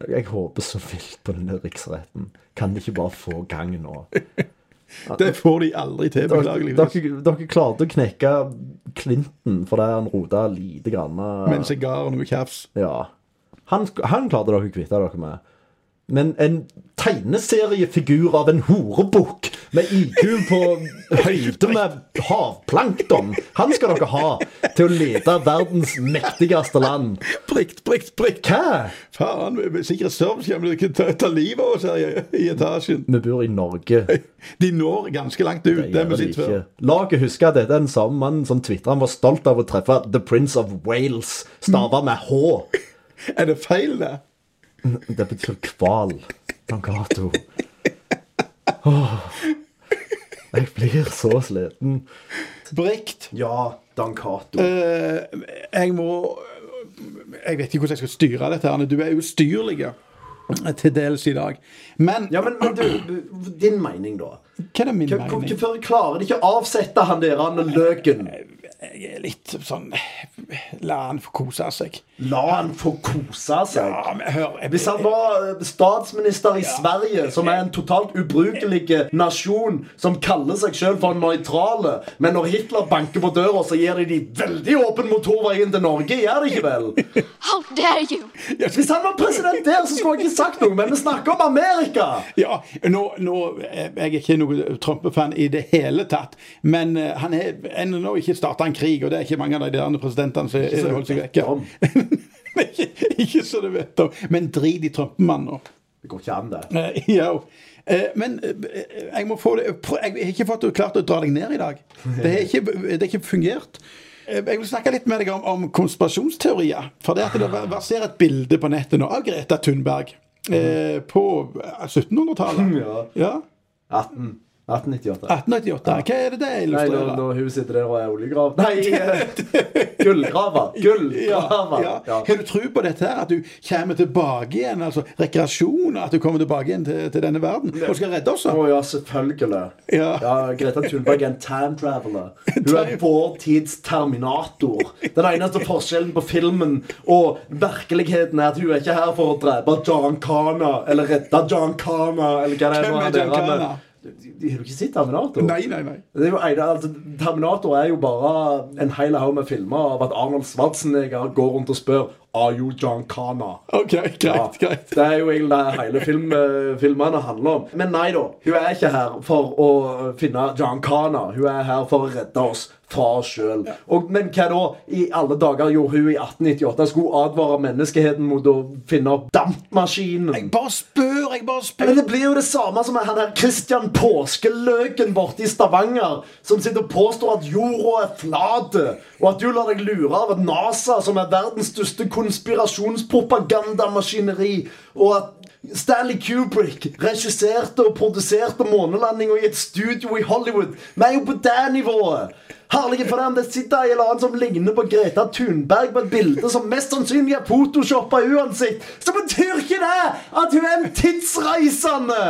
S3: Jeg håper så vilt på denne riksretten. Kan de ikke bare få gang nå?
S2: Det får de aldri til,
S3: Dere,
S2: beklageligvis.
S3: dere, dere klarte å knekke Clinton fordi han rota lite grann.
S2: Med en sigar og noe kjaps.
S3: Ja. Han, han klarte dere å kvitte dere med. Men en tegneseriefigur av en horebukk med IQ på høyde med havplankton, han skal dere ha til å lede verdens mektigste land.
S2: Prikt, prikt, prikt.
S3: Hva?
S2: Faen, Sikkerhet Service kommer til å ta- ta livet av oss her i, i etasjen.
S3: Vi bor i Norge.
S2: De når ganske langt ut, det
S3: gjør
S2: vi
S3: det
S2: sitter før.
S3: ikke. La dere huske at dette er den samme mannen som tvitra han var stolt av å treffe The Prince of Wales, stava med H.
S2: Er det feil, det?
S3: Det betyr kval. Mangato. Åh, jeg blir så sliten.
S2: Brikt.
S3: Ja, Dancato.
S2: Eh, jeg må Jeg vet ikke hvordan jeg skal styre dette. Arne. Du er ustyrlig til dels i dag. Men
S3: Ja, men, men du, din mening, da?
S2: hva er det min
S3: Hva- hvor-
S2: mening?
S3: Hvorfor klarer de ikke å avsette han der han løken?
S2: Jeg er litt sånn La han få kose seg.
S3: La han få kose seg.
S2: Ja, men hør jeg,
S3: Hvis han var eh, statsminister i Sverige, som er en totalt ubrukelig eh, nasjon, som kaller seg selv for nøytrale, men når Hitler banker på døra, så gir de de veldig åpen motorvei inn til Norge, gjør de ikke vel?
S4: How dare you?
S3: Hvis han var president der, så skulle jeg ikke sagt noe, men vi snakker om Amerika!
S2: Ja, nå, nå eh, Jeg er ikke noen Trump-fan i det hele tatt. Men eh, han er ennå nå ikke starta en krig, og det er ikke mange av de der presidentene
S3: så
S2: som
S3: du
S2: holder seg
S3: vet
S2: vekke.
S3: om.
S2: ikke, ikke så du vet om. Men drit i Trump-mannen nå.
S3: Det går ikke an, det.
S2: Eh, Ja. Eh, Men eh, jeg må få det prø- Jeg har ikke fått klart å dra deg ned i dag. Det har ikke, det har ikke fungert. Eh, Jeg vil snakke litt med deg om, om konspirasjonsteorier. For det at det verserer et bilde på nettet nå av Greta Thunberg. eh, på 1700-tallet.
S3: Ja.
S2: Ja.
S3: 18.
S2: Ah,
S3: 1898.
S2: 1898. Hva er det det
S3: Nei, når,
S2: illustrerer?
S3: når hun sitter der og er oljegrav Nei, eh, gullgraver! Gullgraver!
S2: ja.
S3: Ja.
S2: Har du tro på dette her, at du kommer tilbake igjen, altså rekreasjon, at du kommer tilbake igjen til, til denne verden og skal redde oss?
S3: Å
S2: da?
S3: ja, selvfølgelig.
S2: Ja.
S3: Greta Thunberg er en time traveler. Hun er vår tids Terminator. Den eneste forskjellen på filmen og virkeligheten er at hun er ikke her for å drepe John Connor eller redde John Connor eller hva det er.
S2: Hvem
S3: nå
S2: er
S3: han der, han
S2: John
S3: er-
S2: Connor?
S3: Du- du- Har du ikke sett Terminator?
S2: Nei, nei, nei.
S3: Det er jo en, altså, Terminator er jo bare en hel haug med filmer av at Arnold Schwarzenegger går rundt og spør Are you John Connor?
S2: OK, greit,
S3: Ja,
S2: greit.
S3: Det er jo egentlig det hele film, eh, filmene handler om. Men nei da, hun er ikke her for å finne John Connor. Hun er her for å redde oss fra oss sjøl. Men hva da? I alle dager gjorde hun i 1898 skulle advare menneskeheten mot å finne opp dampmaskinen.
S2: Bare spør, jeg bare spør.
S3: Men det blir jo det samme som han her Christian Påskeløken borte i Stavanger, som sitter og påstår at jorda er flat, og at du lar deg lure av at NASA, som er verdens største konspirasjonspropagandamaskineri, og at Stanley Kubrick regisserte og produserte månelandinga i et studio i Hollywood. Vi er jo på det nivået! Herlige for dem, Det sitter ei eller annen som ligner på Greta Thunberg på et bilde som mest sannsynlig er photoshoppa uansett, så betyr ikke det at hun er en tidsreisende!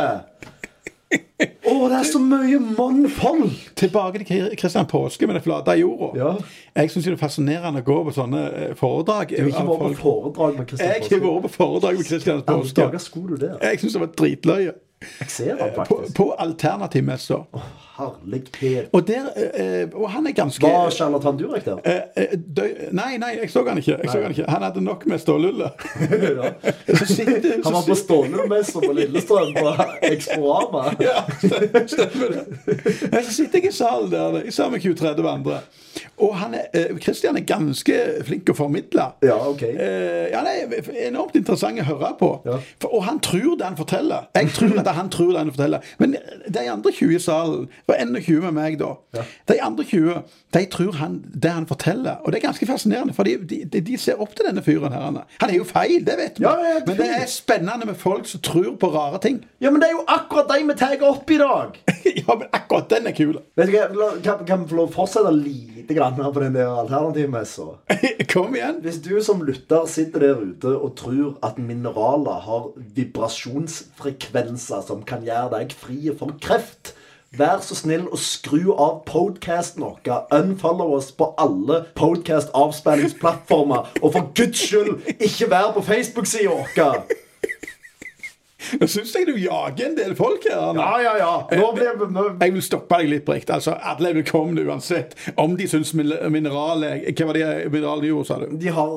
S3: Å, det er så mye mannfolk!
S2: Tilbake til Kristian Påske med det flate jorda.
S3: Ja.
S2: Jeg syns det er fascinerende å gå på sånne eh, foredrag.
S3: Du har ikke
S2: av
S3: vært på
S2: folk.
S3: foredrag med
S2: Jeg har
S3: Kristian Påske.
S2: vært på foredrag med Kristian
S3: Hvilke
S2: Påske.
S3: dager skulle du der?
S2: Jeg syns det var dritløye.
S3: Jeg ser han
S2: På,
S3: faktisk.
S2: på alternativmessa.
S3: Herlighet.
S2: Og, der, eh, eh, og han er ganske
S3: Var Charlatan Durek der?
S2: eh, eh, dø- Nei, nei, jeg så han ikke. Jeg så han ikke. Han hadde nok med stålulle.
S3: Ja.
S2: Så sitter
S3: Han var
S2: så
S3: på
S2: sit-
S3: Stålmesse på Lillestrøm på Exporama.
S2: Ja, stemmer stemmer det. Ja, Så sitter jeg i salen der i sammen med Q30 og andre. Og han er, eh, Christian er ganske flink å formidle.
S3: Ja, ok.
S2: Eh, ja, det er enormt interessant å høre på.
S3: Ja.
S2: For, og han tror det han forteller. Jeg tror at han tror det han forteller. Men eh, de andre 20 i salen, og 21 med meg da, de andre 20 de tror han, det han forteller. Og det er ganske fascinerende, for de, de, de ser opp til denne fyren her. Han er- Han er jo feil, det vet vi.
S3: Ja, det er
S2: Men det er spennende med folk som tror på rare ting.
S3: Ja, men det er jo akkurat de vi tar opp i dag!
S2: ja, men akkurat den er kul.
S3: Vet du hva, la- Kan, kan vi få lov å fortsette lite grann her på den der alternativmessa?
S2: Kom igjen.
S3: Hvis du som lytter sitter der ute og tror at mineraler har vibrasjonsfrekvenser som kan gjøre deg fri for kreft, vær så snill å skru av podcasten vår. Unfollow oss på alle podcast-avspenningsplattformer. Og for guds skyld, ikke vær på Facebook-sida vår!
S2: Jeg syns jeg du jager en del folk her. Arne.
S3: Ja, ja, ja. Nå blir nå...
S2: Jeg vil stoppe deg litt, Brikt. Altså, alle er velkomne uansett. Om de syns mineralet Hva var det mineralet gjorde, sa du?
S3: De har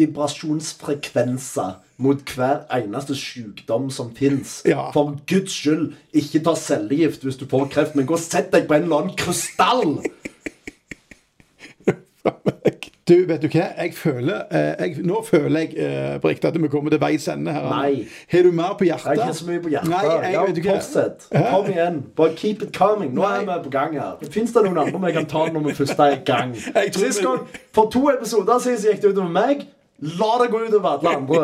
S3: vibrasjonsfrekvenser mot hver eneste sykdom som fins.
S2: Ja.
S3: For guds skyld, ikke ta cellegift hvis du får kreft, men gå og sett deg på en eller annen krystall!
S2: Du, vet du hva? Jeg føler, eh, jeg, nå føler jeg, eh, Brikt, at vi kommer til veis ende her. Arne.
S3: Nei.
S2: Har du mer på hjertet?
S3: Jeg har ikke så mye på hjertet.
S2: Nei, jeg,
S3: ja,
S2: vet du hva?
S3: fortsett. Kom igjen. Bare keep it coming. Nå er
S2: Nei.
S3: vi på gang her. Fins det noen andre vi kan ta når vi først er i gang?
S2: Jeg tror
S3: Sist
S2: vi-
S3: gang, For to episoder siden så gikk det utover meg. La det gå utover alle andre.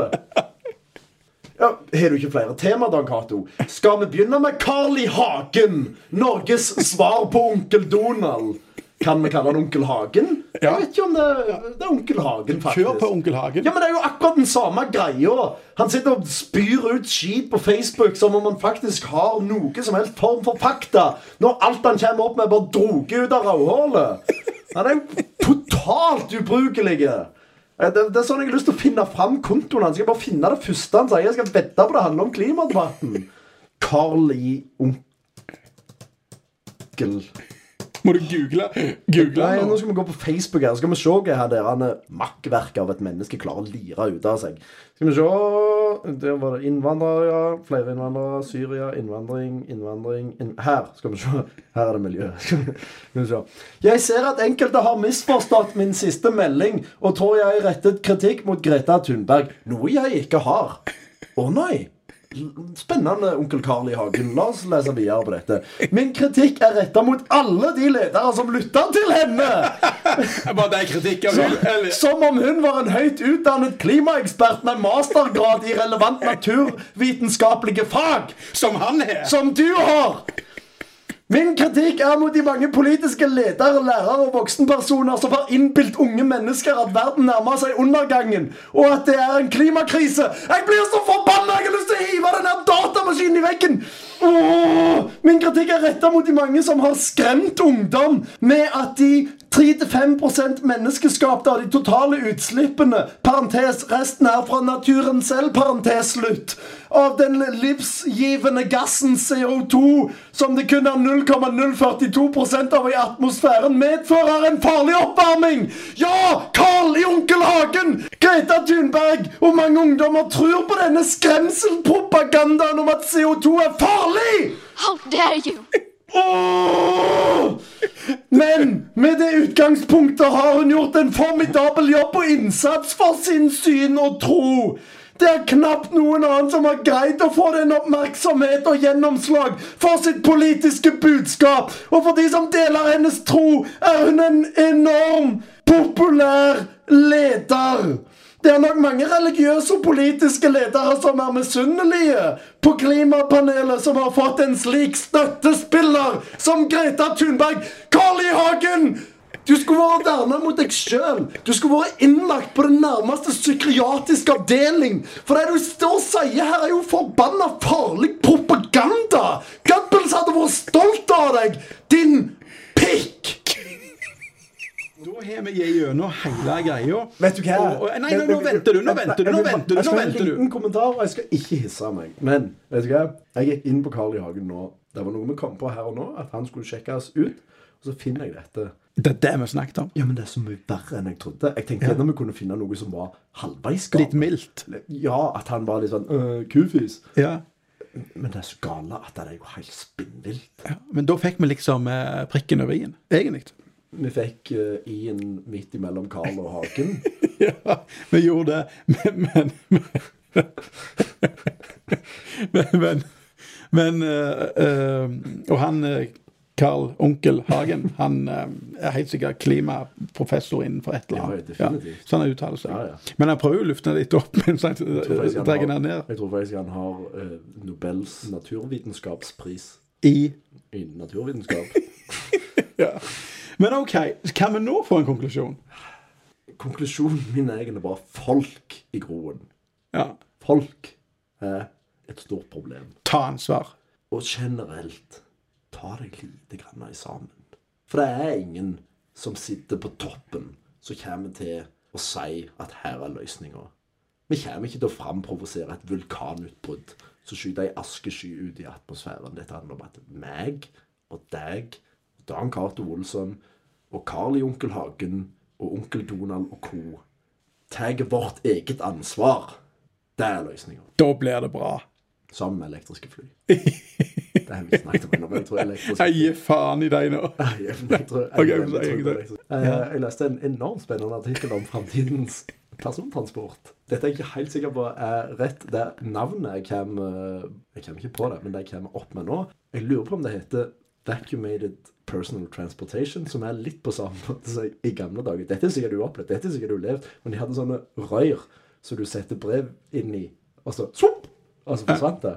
S3: Ja, Har du ikke flere tema, Dan Cato? Skal vi begynne med Carl I. Hagen? Norges svar på onkel Donald. Kan vi kalle han onkel Hagen?
S2: Ja.
S3: Jeg vet ikke om det, det er onkel Hagen, faktisk.
S2: Kjør på onkel Hagen.
S3: Ja, men det er jo akkurat den samme greia. Han sitter og spyr ut skit på Facebook som om han faktisk har noe som helst form for fakta, når alt han kommer opp med, er bare droger ut av rødhålet. Han er jo totalt ubrukelig. Eh, Det, det er sånn jeg har lyst til å finne fram kontoen hans. Jeg skal bare finne det første han sier. Jeg skal vedde på det handler om klimadebatten. Carl i onkel
S2: Må du google? Google
S3: Nei, nå
S2: nå?
S3: skal vi gå på Facebook her. Så skal vi se hva her der han er makkverket av et menneske klarer å lire ut av seg. Skal vi se Der var det innvandrere, ja. Flere innvandrere. Syria. Innvandring, innvandring inn... Her skal vi se. Her er det miljø. Skal vi se. Jeg ser at enkelte har misforstått min siste melding og tror jeg rettet kritikk mot Greta Thunberg. Noe jeg ikke har. Å nei. Spennende, onkel Carl i hagen. La oss lese videre på dette. Min kritikk er retta mot alle de ledere som lytter til henne!
S2: Bare det er kritikk av Vil, eller?
S3: Som om hun var en høyt utdannet klimaekspert med mastergrad i relevant naturvitenskapelige fag!
S2: Som han er!
S3: som du har! Min kritikk er mot de mange politiske ledere, lærere og voksenpersoner som har innbilt unge mennesker at verden nærmer seg undergangen, og at det er en klimakrise. Jeg blir så forbanna! Jeg har lyst til å hive den der datamaskinen i veggen! Åh! Min kritikk er retta mot de mange som har skremt ungdom med at de 3-5 menneskeskapte av de totale utslippene, parentes, resten er fra naturen selv, parentes slutt, av den livsgivende gassen CO2, som det kun er 0,042 av i atmosfæren, medfører en farlig oppvarming! Ja, Karl i Onkel Hagen, Greta Thunberg og mange ungdommer tror på denne skremselpropagandaen om at CO2 er farlig!
S4: How dare you!
S3: Åh! Men med det utgangspunktet har hun gjort en formidabel jobb og innsats for sin syn og tro. Det er knapt noen annen som har greid å få den oppmerksomhet og gjennomslag for sitt politiske budskap. Og for de som deler hennes tro, er hun en enorm populær leder. Det er nok mange religiøse og politiske ledere som er misunnelige på klimapanelet som har fått en slik støttespiller som Greta Thunberg. Carl I. Hagen! Du skulle vært verna mot deg sjøl. Du skulle vært innlagt på den nærmeste psykiatriske avdeling. For det du står og sier her, er jo forbanna farlig propaganda! Gampels hadde vært stolt av deg, din pikk!
S2: Da har vi gjennom hele greia.
S3: Vet du hva?
S2: Og- og- Nei, nå, nå venter du, nå venter du, nå venter du!
S3: Jeg
S2: nå
S3: skal ha en
S2: venter du
S3: liten kommentar, og jeg skal ikke hisse meg. Men vet du hva? Jeg gikk inn på Carl I. Hagen nå. Det var noe vi kom på her og nå, at han skulle sjekke oss ut. Og så finner jeg dette.
S2: Det er det vi snakket om.
S3: Ja, men det er så mye verre enn jeg trodde. Jeg tenkte gjerne vi kunne finne noe som var halvveis galt.
S2: Litt mildt.
S3: Ja, at han var litt sånn øh, kufis.
S2: Ja.
S3: Men det er så gale at det er jo helt spinnvilt.
S2: Ja, Men da fikk vi liksom eh, prikken over i-en, egentlig.
S3: Vi fikk øh, i-en midt imellom Carl og Hagen.
S2: Ja, vi gjorde det, men Men, men, men, men eh, eh, Og han eh, Carl Onkel Hagen, han eh, er helt sikkert klimaprofessor innenfor et eller
S3: Ja,
S2: annet.
S3: definitivt.
S2: så han uttaler seg.
S3: Ja, ja.
S2: Men han prøver jo å lufte det litt opp mens han
S3: Jeg tror faktisk
S2: eh,
S3: han
S2: drar
S3: har-
S2: den ned.
S3: Jeg tror faktisk han har øh, Nobels naturvitenskapspris.
S2: I
S3: Innen naturvitenskap.
S2: ja. Men OK, kan vi nå få en konklusjon?
S3: Konklusjonen min er egentlig bare folk i groen.
S2: Ja.
S3: Folk er et stort problem.
S2: Ta ansvar.
S3: Og generelt, ta deg lite grann i sammen. For det er ingen som sitter på toppen som kommer til å si at her er løsninga. Vi kommer ikke til å framprovosere et vulkanutbrudd som skyter ei askesky ut i atmosfæren. Dette handler om at meg og deg, Dan Cato Olsson og Carl i Onkel Hagen og Onkel Donald og co. tar vårt eget ansvar. Det er løsninga.
S2: Da blir det bra.
S3: Sammen med elektriske fly. Det har vi ikke snakket om ennå, men jeg tror elektriske
S2: Jeg gir faen i deg nå.
S3: jeg, jeg, tror, jeg, jeg,
S2: Ok, så jeg-
S3: tror det er elektrisk. Eh, jeg leste en enormt spennende artikkel om framtidens persontransport. Dette er jeg ikke helt sikker på er rett. Det er navnet jeg kommer eh, Jeg kommer ikke på det, men det jeg kommer opp med nå. Jeg lurer på om det heter Vacuumated Personal Transportation, som er litt på samme måte som i gamle dager. Dette er sikkert du har opplevd, dette er sikkert du har levd, men de hadde sånne røyr som du setter brev inn i, og så svopp, og så forsvant det.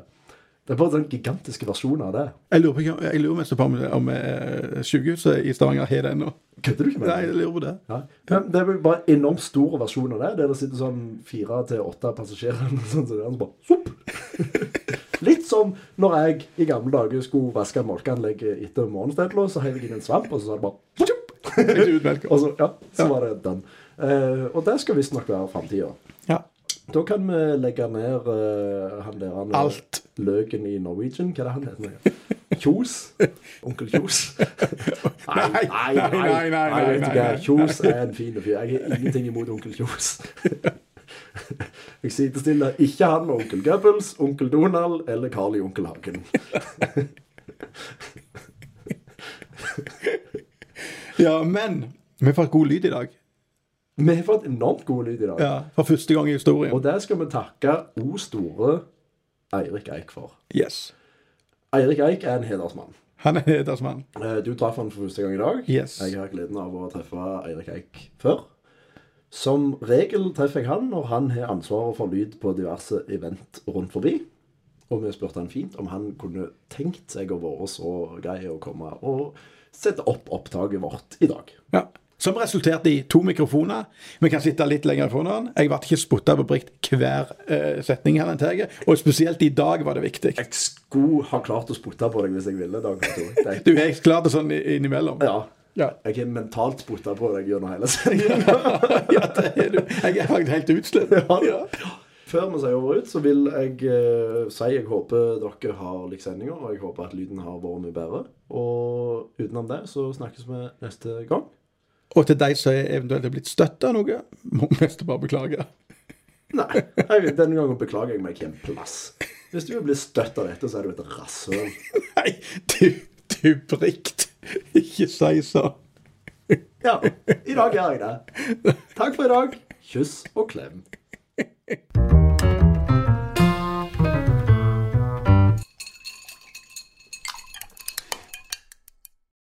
S3: Det er bare sånn gigantiske versjoner av det.
S2: Jeg lurer, på, ikke- jeg lurer mest på om, om eh, sykehuset i Stavanger har det ennå.
S3: Kødder du ikke med
S2: Nei, jeg lurer på det.
S3: Ja. Men det er vel bare en enormt stor versjon av det, der det sitter sånn fire til åtte passasjerer eller noe sånt, så det er altså bare sopp. Litt som når jeg i gamle dager skulle vaske molkeanlegget etter morgenstedla, så heiv jeg inn en svamp, og så sa det bare sopp.
S2: Ikke utmelka.
S3: Og så, ja, så var det den. Eh, og det skal visstnok være framtida.
S2: Ja.
S3: Da kan vi legge ned eh, han der han,
S2: Alt.
S3: Løken i Norwegian, hva er det han heter? Kjos? Onkel Kjos?
S2: Nei, nei, nei, nei, nei,
S3: Nei, vet du hva?
S2: nei, nei.
S3: Kjos er en fin fyr. Jeg har ingenting imot onkel Kjos. Jeg sidestiller ikke han med onkel Goebbels, onkel Donald eller Carl i onkel Hagen.
S2: ja, men vi får god lyd i dag.
S3: Vi har fått enormt god lyd i dag.
S2: Ja, For første gang i historien.
S3: Og der skal vi takke O store Eirik Eik for.
S2: Yes.
S3: Eirik Eik er en hedersmann.
S2: Han er hedersmann.
S3: Eh, Du traff han for første gang i dag.
S2: Yes.
S3: Jeg har gleden av å treffe Eirik Eik før. Som regel treffer jeg han når han har ansvaret for lyd på diverse event rundt forbi. Og vi spurte han fint om han kunne tenkt seg å være så grei å komme og sette opp opptaket vårt i dag.
S2: Ja. Som resulterte i to mikrofoner. Vi kan sitte litt lenger fra hverandre. Jeg ble ikke spotta på brikt hver eh, setning her den tar. Og spesielt i dag var det viktig.
S3: Jeg skulle ha klart å spotte på deg hvis jeg ville. Dag, Kontor. Det er-
S2: Du er klart det sånn i- innimellom.
S3: ja.
S2: Ja.
S3: Jeg har mentalt spotta på deg gjennom hele sendingen.
S2: ja, det er du. Jeg er faktisk helt utslett.
S3: Ja. Før vi sier over ut, så vil jeg eh, si jeg håper dere har likt sendinga, og jeg håper at lyden har vært mye bedre. Og utenom det så snakkes vi neste gang.
S2: Og til de som eventuelt er blitt støtt av noe, må vi mest bare beklage.
S3: Nei, jeg, denne gangen beklager jeg meg ikke en plass. Hvis du vil bli støtt av dette, så er du et rasshøl.
S2: Nei, du, du brikt. Ikke si sånn.
S3: Ja, i dag gjør jeg det. Takk for i dag. Kyss og klem.